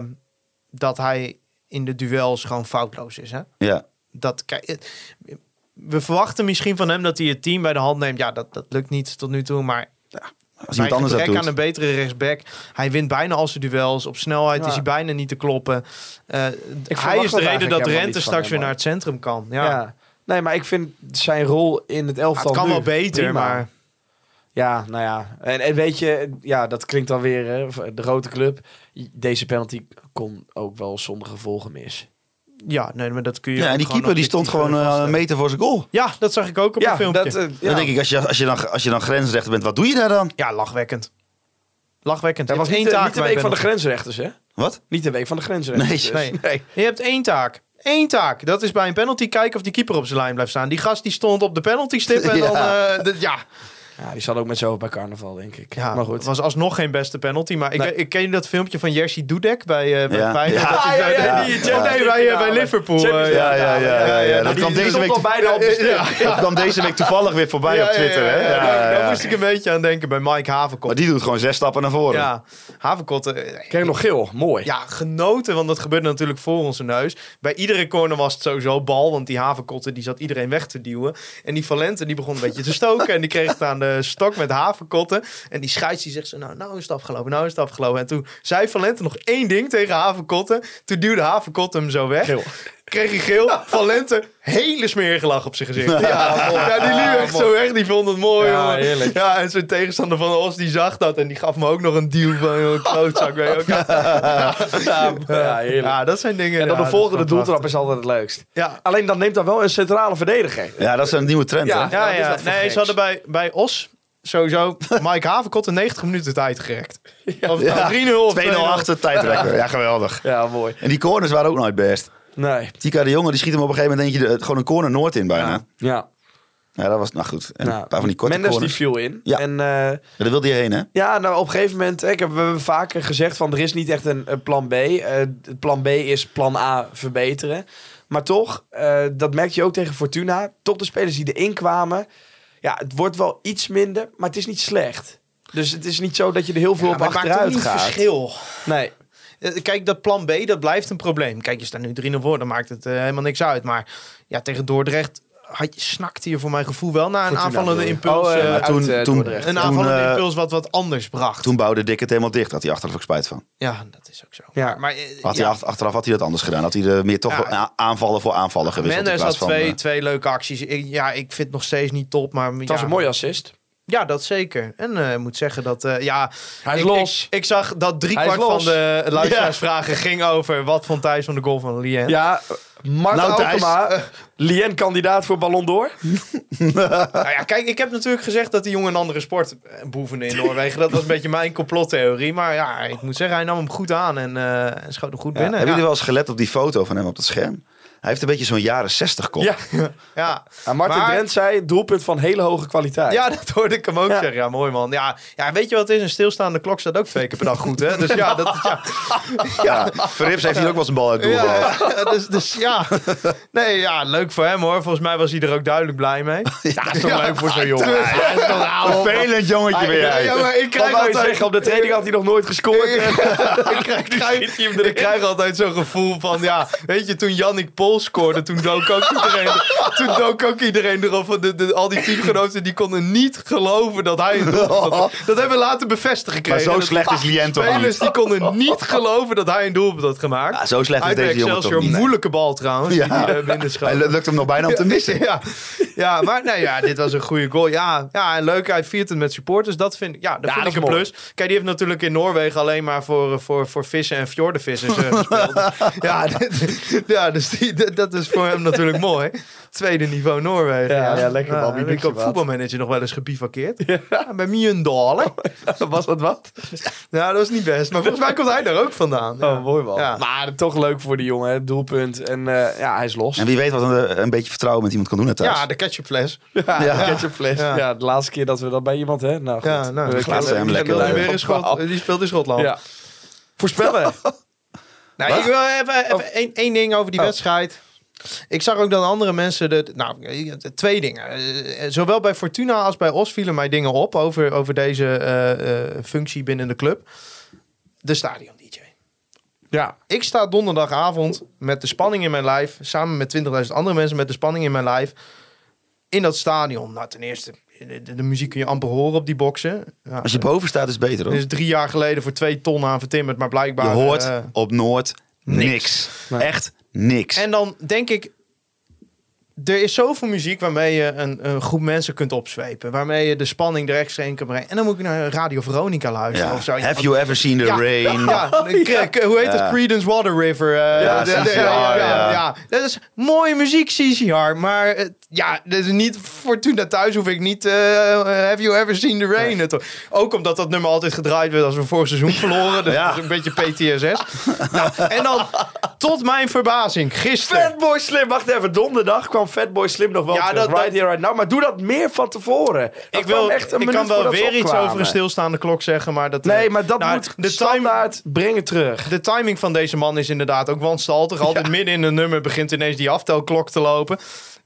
dat hij in de duels gewoon foutloos is, hè?
Ja.
dat kijk, het- we verwachten misschien van hem dat hij het team bij de hand neemt. Ja, dat, dat lukt niet tot nu toe, maar
Als
bij
iemand anders dat
gebrek
doet.
aan een betere rechtsback. Hij wint bijna al zijn duels. Op snelheid
Ja.
is hij bijna niet te kloppen. Eh, hij
verwacht
is de
dat
reden
eigenlijk
dat
helemaal
Rente
niet van hem,
straks weer
man.
naar het centrum kan. Ja.
Ja. Nee, maar ik vind zijn rol in het
Ja,
elftal
het kan
nu
wel beter,
prima.
maar
Ja, nou ja. En, en weet je, ja, dat klinkt dan weer hè, de grote club. Deze penalty kon ook wel zonder gevolgen mis.
ja, nee, maar dat kun je.
Ja, en die
gewoon
keeper die stond
objectief,
gewoon eh,
eh,
een
vaststellen.
meter voor zijn goal.
Ja, dat zag ik ook op een filmpje.
eh, ja.
Dan denk ik, als je, als, je dan, als je dan grensrechter bent, wat doe je daar dan?
Ja, lachwekkend. Lachwekkend.
Dat
Je
was
hebt
niet,
één
de-
taak
niet de
bij
week van de
penalty.
grensrechters, hè?
Wat?
Niet de week van de grensrechters.
Nee.
dus. nee.
Je hebt één taak. Eén taak. Dat is bij een penalty kijken of die keeper op zijn lijn blijft staan. Die gast die stond op de penalty stip en
Ja.
dan... eh, de- ja,
Ja, die zat ook met z'n hoofd bij carnaval, denk ik.
Ja,
maar goed.
Het was alsnog geen beste penalty. Maar ik,
Nee.
ik ken je dat filmpje van Jerzy Dudek bij, eh bij
Ja.
Feyenoord.
Ja.
Dat hij
Ah, ja,
zo-
ja,
dat-
die-
Oh, nee, bij, eh, bij Liverpool.
Champions League.
eh,
Ja, ja, ja. ja, ja,
Ja,
Dat
die-
kwam
die
deze
stond
week
al bijna op de stip.
Dat kwam deze week toevallig weer voorbij
ja,
op Twitter.
ja, ja,
hè?
ja,
Ja,
daar-
ja.
Daar moest ik een beetje aan denken bij Mike
Maar
Havenkot.
die doet gewoon zes stappen naar voren.
Ja, Havenkot... eh,
Kreeg nog geel. Mooi.
Ja, genoten, want dat gebeurde natuurlijk voor onze neus. Bij iedere corner was het sowieso bal, want die havenkotten die zat iedereen weg te duwen. En die Valente die begon een beetje te stoken en die kreeg het aan de stok met havenkotten. En die scheids die zegt zo, nou, nou is het afgelopen, nou is het afgelopen. En toen zei Valente nog één ding tegen havenkotten. Toen duwde havenkotten hem zo weg.
Geel.
Kreeg hij geel. Valente, hele smerige lach op zijn gezicht. Ja, mooi. ja die liep echt zo weg. Die vond het mooi,
Ja,
jongen.
heerlijk.
Ja, en zijn tegenstander van Os, die zag dat. En die gaf me ook nog een duw van, joh, klootzak. Weet je ook. Ja,
Ja, heerlijk.
ja, dat zijn dingen.
En dan
ja,
de volgende
dat is wel
doeltrap is altijd het leukst.
prachtig. Ja.
Alleen dan neemt dan wel een centrale verdediger.
Ja, dat is een nieuwe trend.
Ja.
hè?
Ja,
wat is
ja.
dat voor
Nee,
geks?
ze hadden bij, bij Os sowieso Mike Havenkot een 90 minuten tijd gerekt. Of het nou 3-0 of
2-0 achter tijdrekker. Ja, geweldig.
Ja, mooi.
En die corners waren ook nooit best.
Nee.
Tika de Jonge die schiet hem op een gegeven moment eentje de, gewoon een corner Noord in bijna. Ja,
Ja.
dat was nou goed. En
Nou,
een paar van die korte
Mendes
corners.
die viel in.
Ja.
En eh,
Ja, daar wilde hij heen, hè?
ja, nou op een gegeven moment, hè, ik heb, we hebben vaker gezegd van er is niet echt een, een plan B. Eh, het plan B is plan A verbeteren. Maar toch, eh, dat merk je ook tegen Fortuna. Toch de spelers die erin kwamen. Ja, het wordt wel iets minder, maar het is niet slecht. Dus het is niet zo dat je er heel veel
Ja,
op
maar het maakt ook
achteruit
niet
gaat.
verschil.
Nee.
Eh, Kijk, dat plan B, dat blijft een probleem. Kijk, je staat nu 3-0 voor, dan maakt het eh, helemaal niks uit. Maar ja, tegen Dordrecht had je, snakte je voor mijn gevoel wel naar een
Fortuna
aanvallende
bedoel je?
impuls.
Oh, eh,
eh,
Maar toen,
eh,
toen,
Dordrecht.
een
toen,
aanvallende
eh,
impuls wat wat anders bracht.
toen bouwde Dick het helemaal dicht. Had hij achteraf ook spijt van.
Ja, dat is ook zo.
Ja.
Maar, maar, eh,
Had
ja.
hij achter- achteraf had hij dat anders gedaan. Had hij er meer toch
Ja.
wel a- aanvallen voor aanvallen gewisseld. in
Mendes
plaats
had twee,
van, eh,
twee leuke acties. Ik- ja, ik vind het nog steeds niet top, maar...
Het was een mooie assist.
Ja, dat zeker. En eh, ik moet zeggen dat, eh, ja...
Hij is
ik,
los.
Ik, ik zag dat
Hij is
driekwart van
los.
de luisteraarsvragen ging over... wat vond Thijs van de goal van Lien?
Ja, Mart
Nou, Thijs.
Alkema,
eh,
Lien kandidaat voor Ballon d'Or.
Nou ja, kijk, ik heb natuurlijk gezegd dat die jongen een andere sport eh, beoefende in Noorwegen. Dat was een beetje mijn complottheorie. Maar ja, ik moet zeggen, hij nam hem goed aan en, eh, en schoot hem goed
Ja,
binnen.
Hebben
Ja,
jullie wel eens gelet op die foto van hem op het scherm? Hij heeft een beetje zo'n jaren 60 kop.
Ja,
ja.
en Martin
Maar-
Drent zei, doelpunt van hele hoge kwaliteit.
Ja, dat hoorde ik hem ook
Ja.
zeggen. Ja, mooi man. Ja, ja, weet je wat het is? Een stilstaande klok staat ook twee keer per dag goed, hè? Dus ja, dat, ja,
Ja, Verrips heeft hier ook wel zijn bal uit doel gehaald.
ja, dus, dus ja. Nee, ja, leuk voor hem hoor. Volgens mij was hij er ook duidelijk blij mee. Ja, dat is toch leuk voor zo'n jongen. Ja, dat is toch-
Een Vervelend jongetje weer.
Ja, ja, maar ik
Wat wou
krijg
je
altijd...
zeggen, op de training had hij nog nooit gescoord.
ik krijg, krijg- ik krijg altijd zo'n gevoel van, ja, weet je, toen Yannick Pol scoorde, toen dook ook iedereen, toen dook ook iedereen erop. Van de, de- al die teamgenoten, die konden niet geloven dat hij een doelpunt had. Dat hebben we later bevestigd
Maar
gekregen.
zo
En dat-
slecht is Lien toch
Spelers
niet?
die konden niet geloven dat hij een doelpunt had gemaakt.
Ja, zo slecht
hij
is
bij
deze jongen toch
Excelsior
niet.
een
Nee.
moeilijke bal trouwens.
Ja.
Die eh, hij binnenschoot.
Hij lu- lukt hem nog bijna om te missen.
Ja, ja, maar nee, ja, dit was een goede goal. Ja, ja en leuk, hij viert het met supporters. Dat vind, ja, dat
Ja,
vind
dat
ik
is
een
mooi.
plus. Kijk, die heeft natuurlijk in Noorwegen alleen maar voor, eh, voor, voor vissen en fjordenvissers eh, gespeeld. ja, dit- ja, dus die, dat- dat is voor hem natuurlijk mooi. Tweede niveau Noorwegen.
Ja, ja, lekker man, wie
heb
doet
ik
je
op
wat?
voetbalmanager nog wel eens gebivakkeerd. Ja, bij Mijndalen.
Oh, Was dat wat?
Nou, dat was niet best. Maar volgens mij komt hij daar ook vandaan. Ja.
Oh, mooi man.
Ja.
Maar toch leuk voor die jongen, hè. doelpunt. En eh, ja, hij is los.
En wie weet wat een, een beetje vertrouwen met iemand kan doen het thuis.
Ja, de ketchupfles.
Ja,
Ja.
ketchupfles.
Ja.
Ja. de laatste keer dat we dat bij iemand, hè? Nou, goed.
Ja, nou,
We
dat
laat
kennen-
ze hem
we
lekker,
kennen
eh,
hem
weer in Schot,
verhaal.
die speelt in Schotland.
Ja. Voorspellen.
Nou, ik wil even, even
Oh.
één, één ding over die wedstrijd. Ik zag ook dat andere mensen... De, nou, eh, twee dingen. Eh, eh, Zowel bij Fortuna als bij Os vielen mij dingen op... over, over deze eh, eh, functie binnen de club. De stadion DJ.
ja.
Ik sta donderdagavond met de spanning in mijn lijf... samen met 20.000 andere mensen met de spanning in mijn lijf... in dat stadion. Nou, ten eerste, de, de- de muziek kun je amper horen op die boksen. Ja,
Als je boven staat is het beter hoor.
Er is drie jaar geleden voor twee ton aan vertimmerd, maar
Je
blijkbaar...
hoort
eh,
op Noord niks. Echt niks.
En dan denk ik, er is zoveel muziek waarmee je een, een groep mensen kunt opzwepen. Waarmee je de spanning er extra in kan brengen. En dan moet ik naar Radio Veronica luisteren
ja.
of zo. Ja,
Have you ever seen the
Ja.
rain?
ja, k- k- hoe heet het?
Ja.
Creedence Water River. eh,
Ja,
de- de-
CCR,
ja,
ja.
ja, ja. dat is mooie muziek, CCR. Maar het- ja, dat is niet Fortuna thuis hoef ik niet. eh, have you ever seen the rain? Het- Ook omdat dat nummer altijd gedraaid werd als we vorig seizoen verloren. Dus
Ja.
dat is een beetje PTSS. nou, en dan tot mijn verbazing gisteren.
Fatboy Slim, wacht even. Donderdag kwam Fatboy Slim nog wel
Ja,
terug.
dat- dat-
right here, right now. Maar doe dat meer van tevoren. Dat
ik wil,
kwam echt een
ik
minuut
kan wel
voordat ze
weer iets
opkwamen.
over een stilstaande klok zeggen, maar dat... eh,
Nee, maar dat
nou,
moet de
de, time,
standaard brengen terug.
de timing van deze man is inderdaad ook wanstaltig. Altijd midden in een nummer begint ineens die aftelklok te lopen.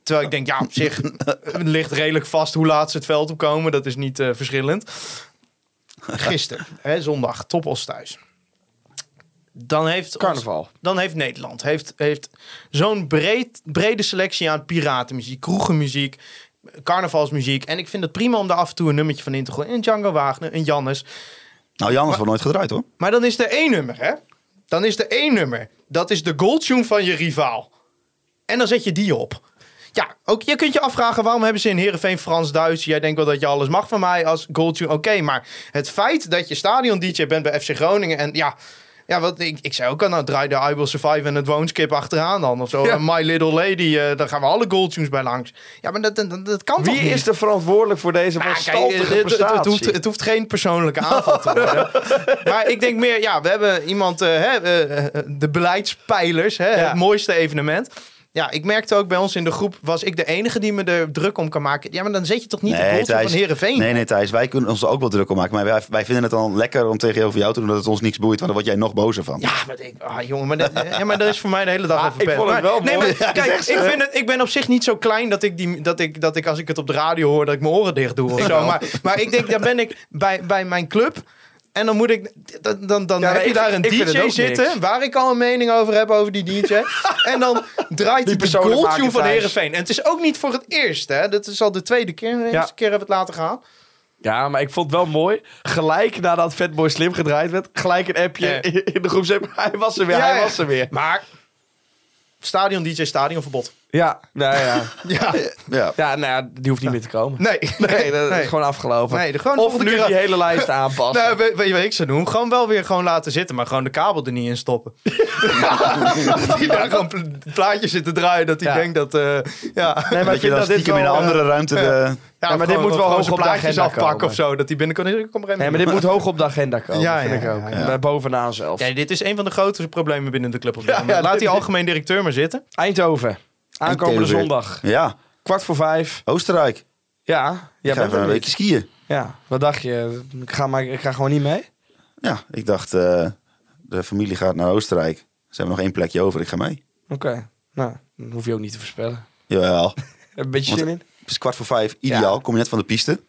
Terwijl ik denk, ja, op zich het ligt redelijk vast hoe laat ze het veld opkomen. Dat is niet eh, verschillend. Gisteren, hè, zondag, toppels thuis. Dan heeft ons-
Carnaval.
dan heeft Nederland heeft, heeft zo'n breed, brede selectie aan piratenmuziek, kroegenmuziek, carnavalsmuziek. En ik vind het prima om daar af en toe een nummertje van in te gooien. Een Django Wagner, een Jannes.
Nou, Jan wordt nooit gedraaid hoor.
Maar dan is er één nummer, hè? Dan is er één nummer. Dat is de goaltune van je rivaal. En dan zet je die op. Ja, ook je kunt je afvragen waarom hebben ze in Heerenveen Frans-Duits. Jij denkt wel dat je alles mag van mij als goaltune. Oké, maar het feit dat je stadion-dj bent bij FC Groningen en ja... Ja, wat ik, ik zei ook al, nou draai de I Will Survive en het Woonskip achteraan dan of zo.
Ja.
En My Little Lady, eh, daar gaan we alle goaltunes bij langs. Ja, maar dat, dat, dat kan toch
Wie
niet?
is er verantwoordelijk voor deze
Nou, kijk,
wanstaltige
het- het, het,
prestatie?
het hoeft, het hoeft geen persoonlijke aanval te worden. maar ik denk meer, ja, we hebben iemand, eh, hè, eh, eh, de beleidspijlers, hè,
Ja.
het mooiste evenement. Ja, ik merkte ook bij ons in de groep, was ik de enige die me er druk om kan maken. Ja, maar dan zet je toch niet de goal van Herenveen.
Nee, nee, Thijs. Wij kunnen ons er ook wel druk om maken. Maar wij, wij vinden het dan lekker om tegenover jou te doen dat het ons niks boeit. Want dan word jij nog bozer van.
Ja, maar ik, ah, jongen, maar dat, ja, maar dat is voor mij de hele dag
Ah,
even
ik
pet.
vond het
Maar-
wel
nee,
mooi.
Maar, kijk, ik, vind het, ik ben op zich niet zo klein dat ik, die, dat, ik, dat ik als ik het op de radio hoor, dat ik mijn oren dicht doe of zo. Maar, maar ik denk, daar ben ik bij, bij mijn club. En dan moet ik, dan, dan, dan
Ja,
heb
maar
je
ik-
daar een
ik vind het
DJ
ook
zitten,
niks.
waar ik al een mening over heb over die DJ. en dan draait hij de
persoonlijk
goaltune
maken,
van
Thijs.
Herenveen. En het is ook niet voor het eerst, hè? Dat is al de tweede keer. De eerste keer hebben we het laten gaan.
Ja, maar ik vond het wel mooi. Gelijk nadat Fatboy Slim gedraaid werd, gelijk een appje
Ja.
in de groep. zei, Hij was er weer,
Ja,
hij
ja.
was er weer.
Maar stadion DJ, stadionverbod.
Ja, nou ja.
Ja.
Ja.
Ja, nou ja, die hoeft niet meer te komen.
Nee,
Nee, dat
nee.
is gewoon afgelopen.
Nee, de- gewoon de
of
volgende
nu
keer-
die hele lijst aanpassen.
Nou, weet, weet je wat ik zou doen? Gewoon wel weer gewoon laten zitten, maar gewoon de kabel er niet in stoppen. dat hij daar gewoon pla- plaatjes zit te draaien, dat hij
Ja.
denkt dat... eh, ja.
Nee, maar
Dat
ik
je
vind
dan
dat dit
stiekem in een
wel, eh,
andere ruimte de...
Ja,
maar dit moet wel
gewoon
hoog
zijn
op de
plaatjes
agenda
afpakken
komen.
of zo. Dat die binnenkomt. Ik kom er even
Nee, maar dit moet hoog op de agenda komen,
Ja,
vind
ja,
ik ook.
ja,
Daar Bovenaan zelfs.
Ja, dit is een van de grootste problemen binnen de club op dit
Ja,
moment.
ja,
Laat
dit
die
is-
algemeen directeur maar zitten.
Eindhoven. Aankomende
Eindhoven.
zondag.
Ja,
Kwart voor vijf.
Oostenrijk.
Ja,
Ik
jij bent
ga even
er
een
niet.
weekje skiën.
Ja, wat dacht je? Ik ga, maar, ik ga gewoon niet mee?
Ja, ik dacht, eh, de familie gaat naar Oostenrijk. Ze hebben nog één plekje over, ik ga mee.
Oké. Nou, dat hoef je ook niet te voorspellen.
Jawel.
Heb je een beetje
Want-
zin in?
Het is kwart voor vijf, ideaal. Kom je net van de piste.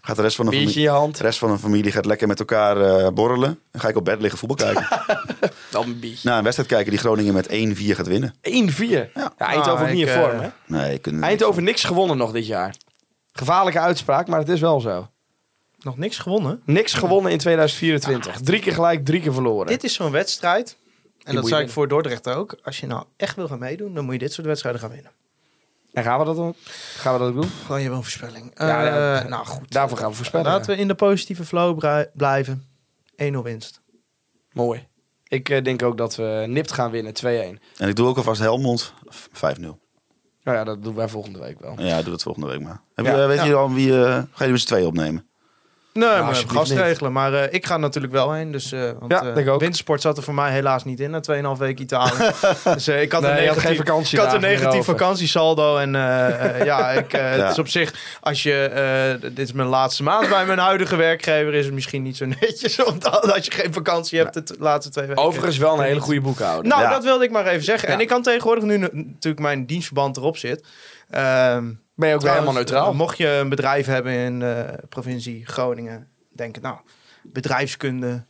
Gaat de rest van de
Biertje in
familie...
je hand.
De rest van de familie gaat lekker met elkaar eh, borrelen. Dan ga ik op bed liggen voetbal kijken.
Dan een biertje.
Na een wedstrijd kijken die Groningen met 1-4 gaat winnen.
1-4. Ja. Eindhoven
Ah,
ook niet
ik,
in vorm,
eh,
hè?
Nee, je kunt-
Eindhoven niks gewonnen nog dit jaar. Gevaarlijke uitspraak, maar het is wel zo.
Nog niks gewonnen.
Niks gewonnen in 2024. Drie keer gelijk, drie keer verloren.
Dit is zo'n wedstrijd. En
moet je
dat zei ik
winnen.
voor Dordrecht ook. Als je nou echt wil gaan meedoen, dan moet je dit soort wedstrijden gaan winnen.
En gaan we dat dan? Gaan we dat ook doen?
Gewoon je wel een voorspelling.
Ja,
Eh,
ja.
nou goed.
Daarvoor gaan we voorspellen.
Laten we in de positieve flow brei- blijven. 1-0 winst.
Mooi. Ik eh, denk ook dat we nipt gaan winnen, 2-1. Nou
En ik doe ook alvast Helmond. 5-0.
ja, dat doen wij volgende week wel.
Ja, doe dat volgende week maar. Heb
Ja.
je, eh, weet
Ja.
je al wie... eh, ga je die met z'n tweeën opnemen?
Nee, maar
alsjeblieft
gast
niet.
regelen. Maar eh, ik ga natuurlijk wel heen. Dus, eh want,
Ja,
eh,
denk ik ook.
Wintersport zat er voor mij helaas niet in na 2,5 week Italië. dus eh, ik had
Nee,
een
je had
negatief,
geen vakantie
ik had
dagen
een
meer
negatief
over.
vakantiesaldo. En eh, eh, ja, ik, eh,
Ja.
het is op zich, als je, eh, dit is mijn laatste maand bij mijn huidige werkgever, is het misschien niet zo netjes. Want als je geen vakantie hebt de t- laatste twee weken.
Overigens wel een hele goede boekhouder.
Nou,
Ja.
dat wilde ik maar even zeggen.
Ja.
En ik kan tegenwoordig, nu nu natuurlijk mijn dienstverband erop zit... ehm,
ben je ook weer
Trouwens,
helemaal neutraal.
eh, Mocht je een bedrijf hebben in eh provincie Groningen, denk ik, nou, bedrijfskunde.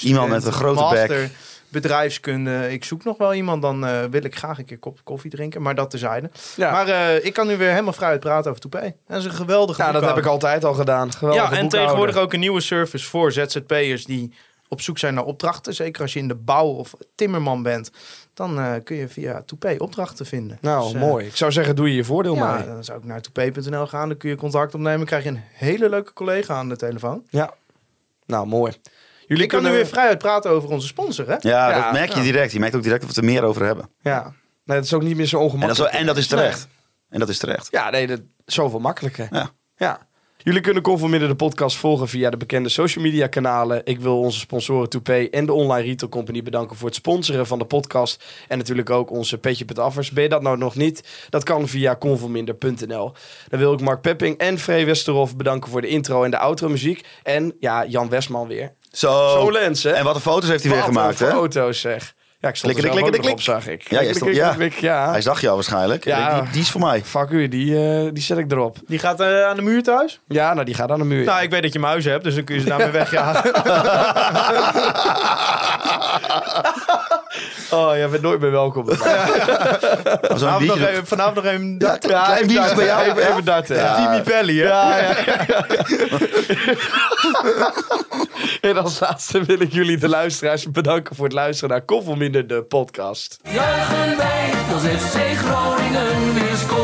Iemand met een grote bek.
Bedrijfskunde. Ik zoek nog wel iemand, dan eh, wil ik graag een keer kop koffie drinken, maar dat terzijde.
ja.
Maar eh, ik kan nu weer helemaal vrijuit praten over Toupé. Dat is een geweldige
ja, dat heb
boekhouder.
ik altijd al gedaan. Geweldige
Ja, en
boekhouder.
tegenwoordig ook een nieuwe service voor ZZP'ers die op zoek zijn naar opdrachten. Zeker als je in de bouw of timmerman bent, dan eh, kun je via Toupé opdrachten vinden.
Nou,
Dus, eh,
mooi. Ik zou zeggen, doe je je voordeel
ja,
mee.
dan zou ik naar toepay.nl gaan. Dan kun je contact opnemen. krijg je een hele leuke collega aan de telefoon.
Ja. Nou, mooi.
Jullie kunnen
kunnen-
nu weer vrijuit praten over onze sponsor, hè?
Ja,
Ja,
dat merk je
ja.
direct. Je merkt ook direct dat we het er meer over hebben.
Ja. Nee, dat is ook niet meer zo
En dat
ongemakkelijk.
is, wel- en dat is terecht. En dat is terecht.
Ja, nee, dat zoveel makkelijker.
Ja.
ja. Jullie kunnen Conforminder de podcast volgen via de bekende social media kanalen. Ik wil onze sponsoren Toupé en de Online Retail Company bedanken voor het sponsoren van de podcast. En natuurlijk ook onze petje.affers. Ben je dat nou nog niet? Dat kan via conforminder.nl. Dan wil ik Mark Pepping en Free Westerhof bedanken voor de intro en de outro muziek. En ja, Jan Westman weer.
Zo.
Zo lens, hè?
En wat een foto's heeft hij weer
Wat een
gemaakt, hè?
foto's, zeg. Ja, ik stond er
Klik,
zelf ook
klik,
nog op,
klik,
zag ik.
Ja, jij
Klik,
stond-
klik,
ja.
klik, klik, ja.
Hij zag jou waarschijnlijk.
Ja.
Die, die is voor mij.
Fuck u, die, eh, die zet ik erop.
Die gaat eh, aan de muur thuis.
Ja, nou die gaat aan de muur.
Nou, ik weet dat je muizen hebt, dus dan kun je ze daarmee wegjagen.
Oh, jij bent nooit meer welkom.
Oh, Zo'n
Vanavond nog
biertje.
eh,
even, vanavond nog even
Ja,
darten.
klein
even
biertje bij jou,
Even,
ja?
even darten.
Ja.
Timmy Pelly, hè? Ja,
en als laatste wil ik jullie, de luisteraars, bedanken voor het luisteren naar Koffelminder, de podcast.
Juichen wij als FC Groningen weer scoort.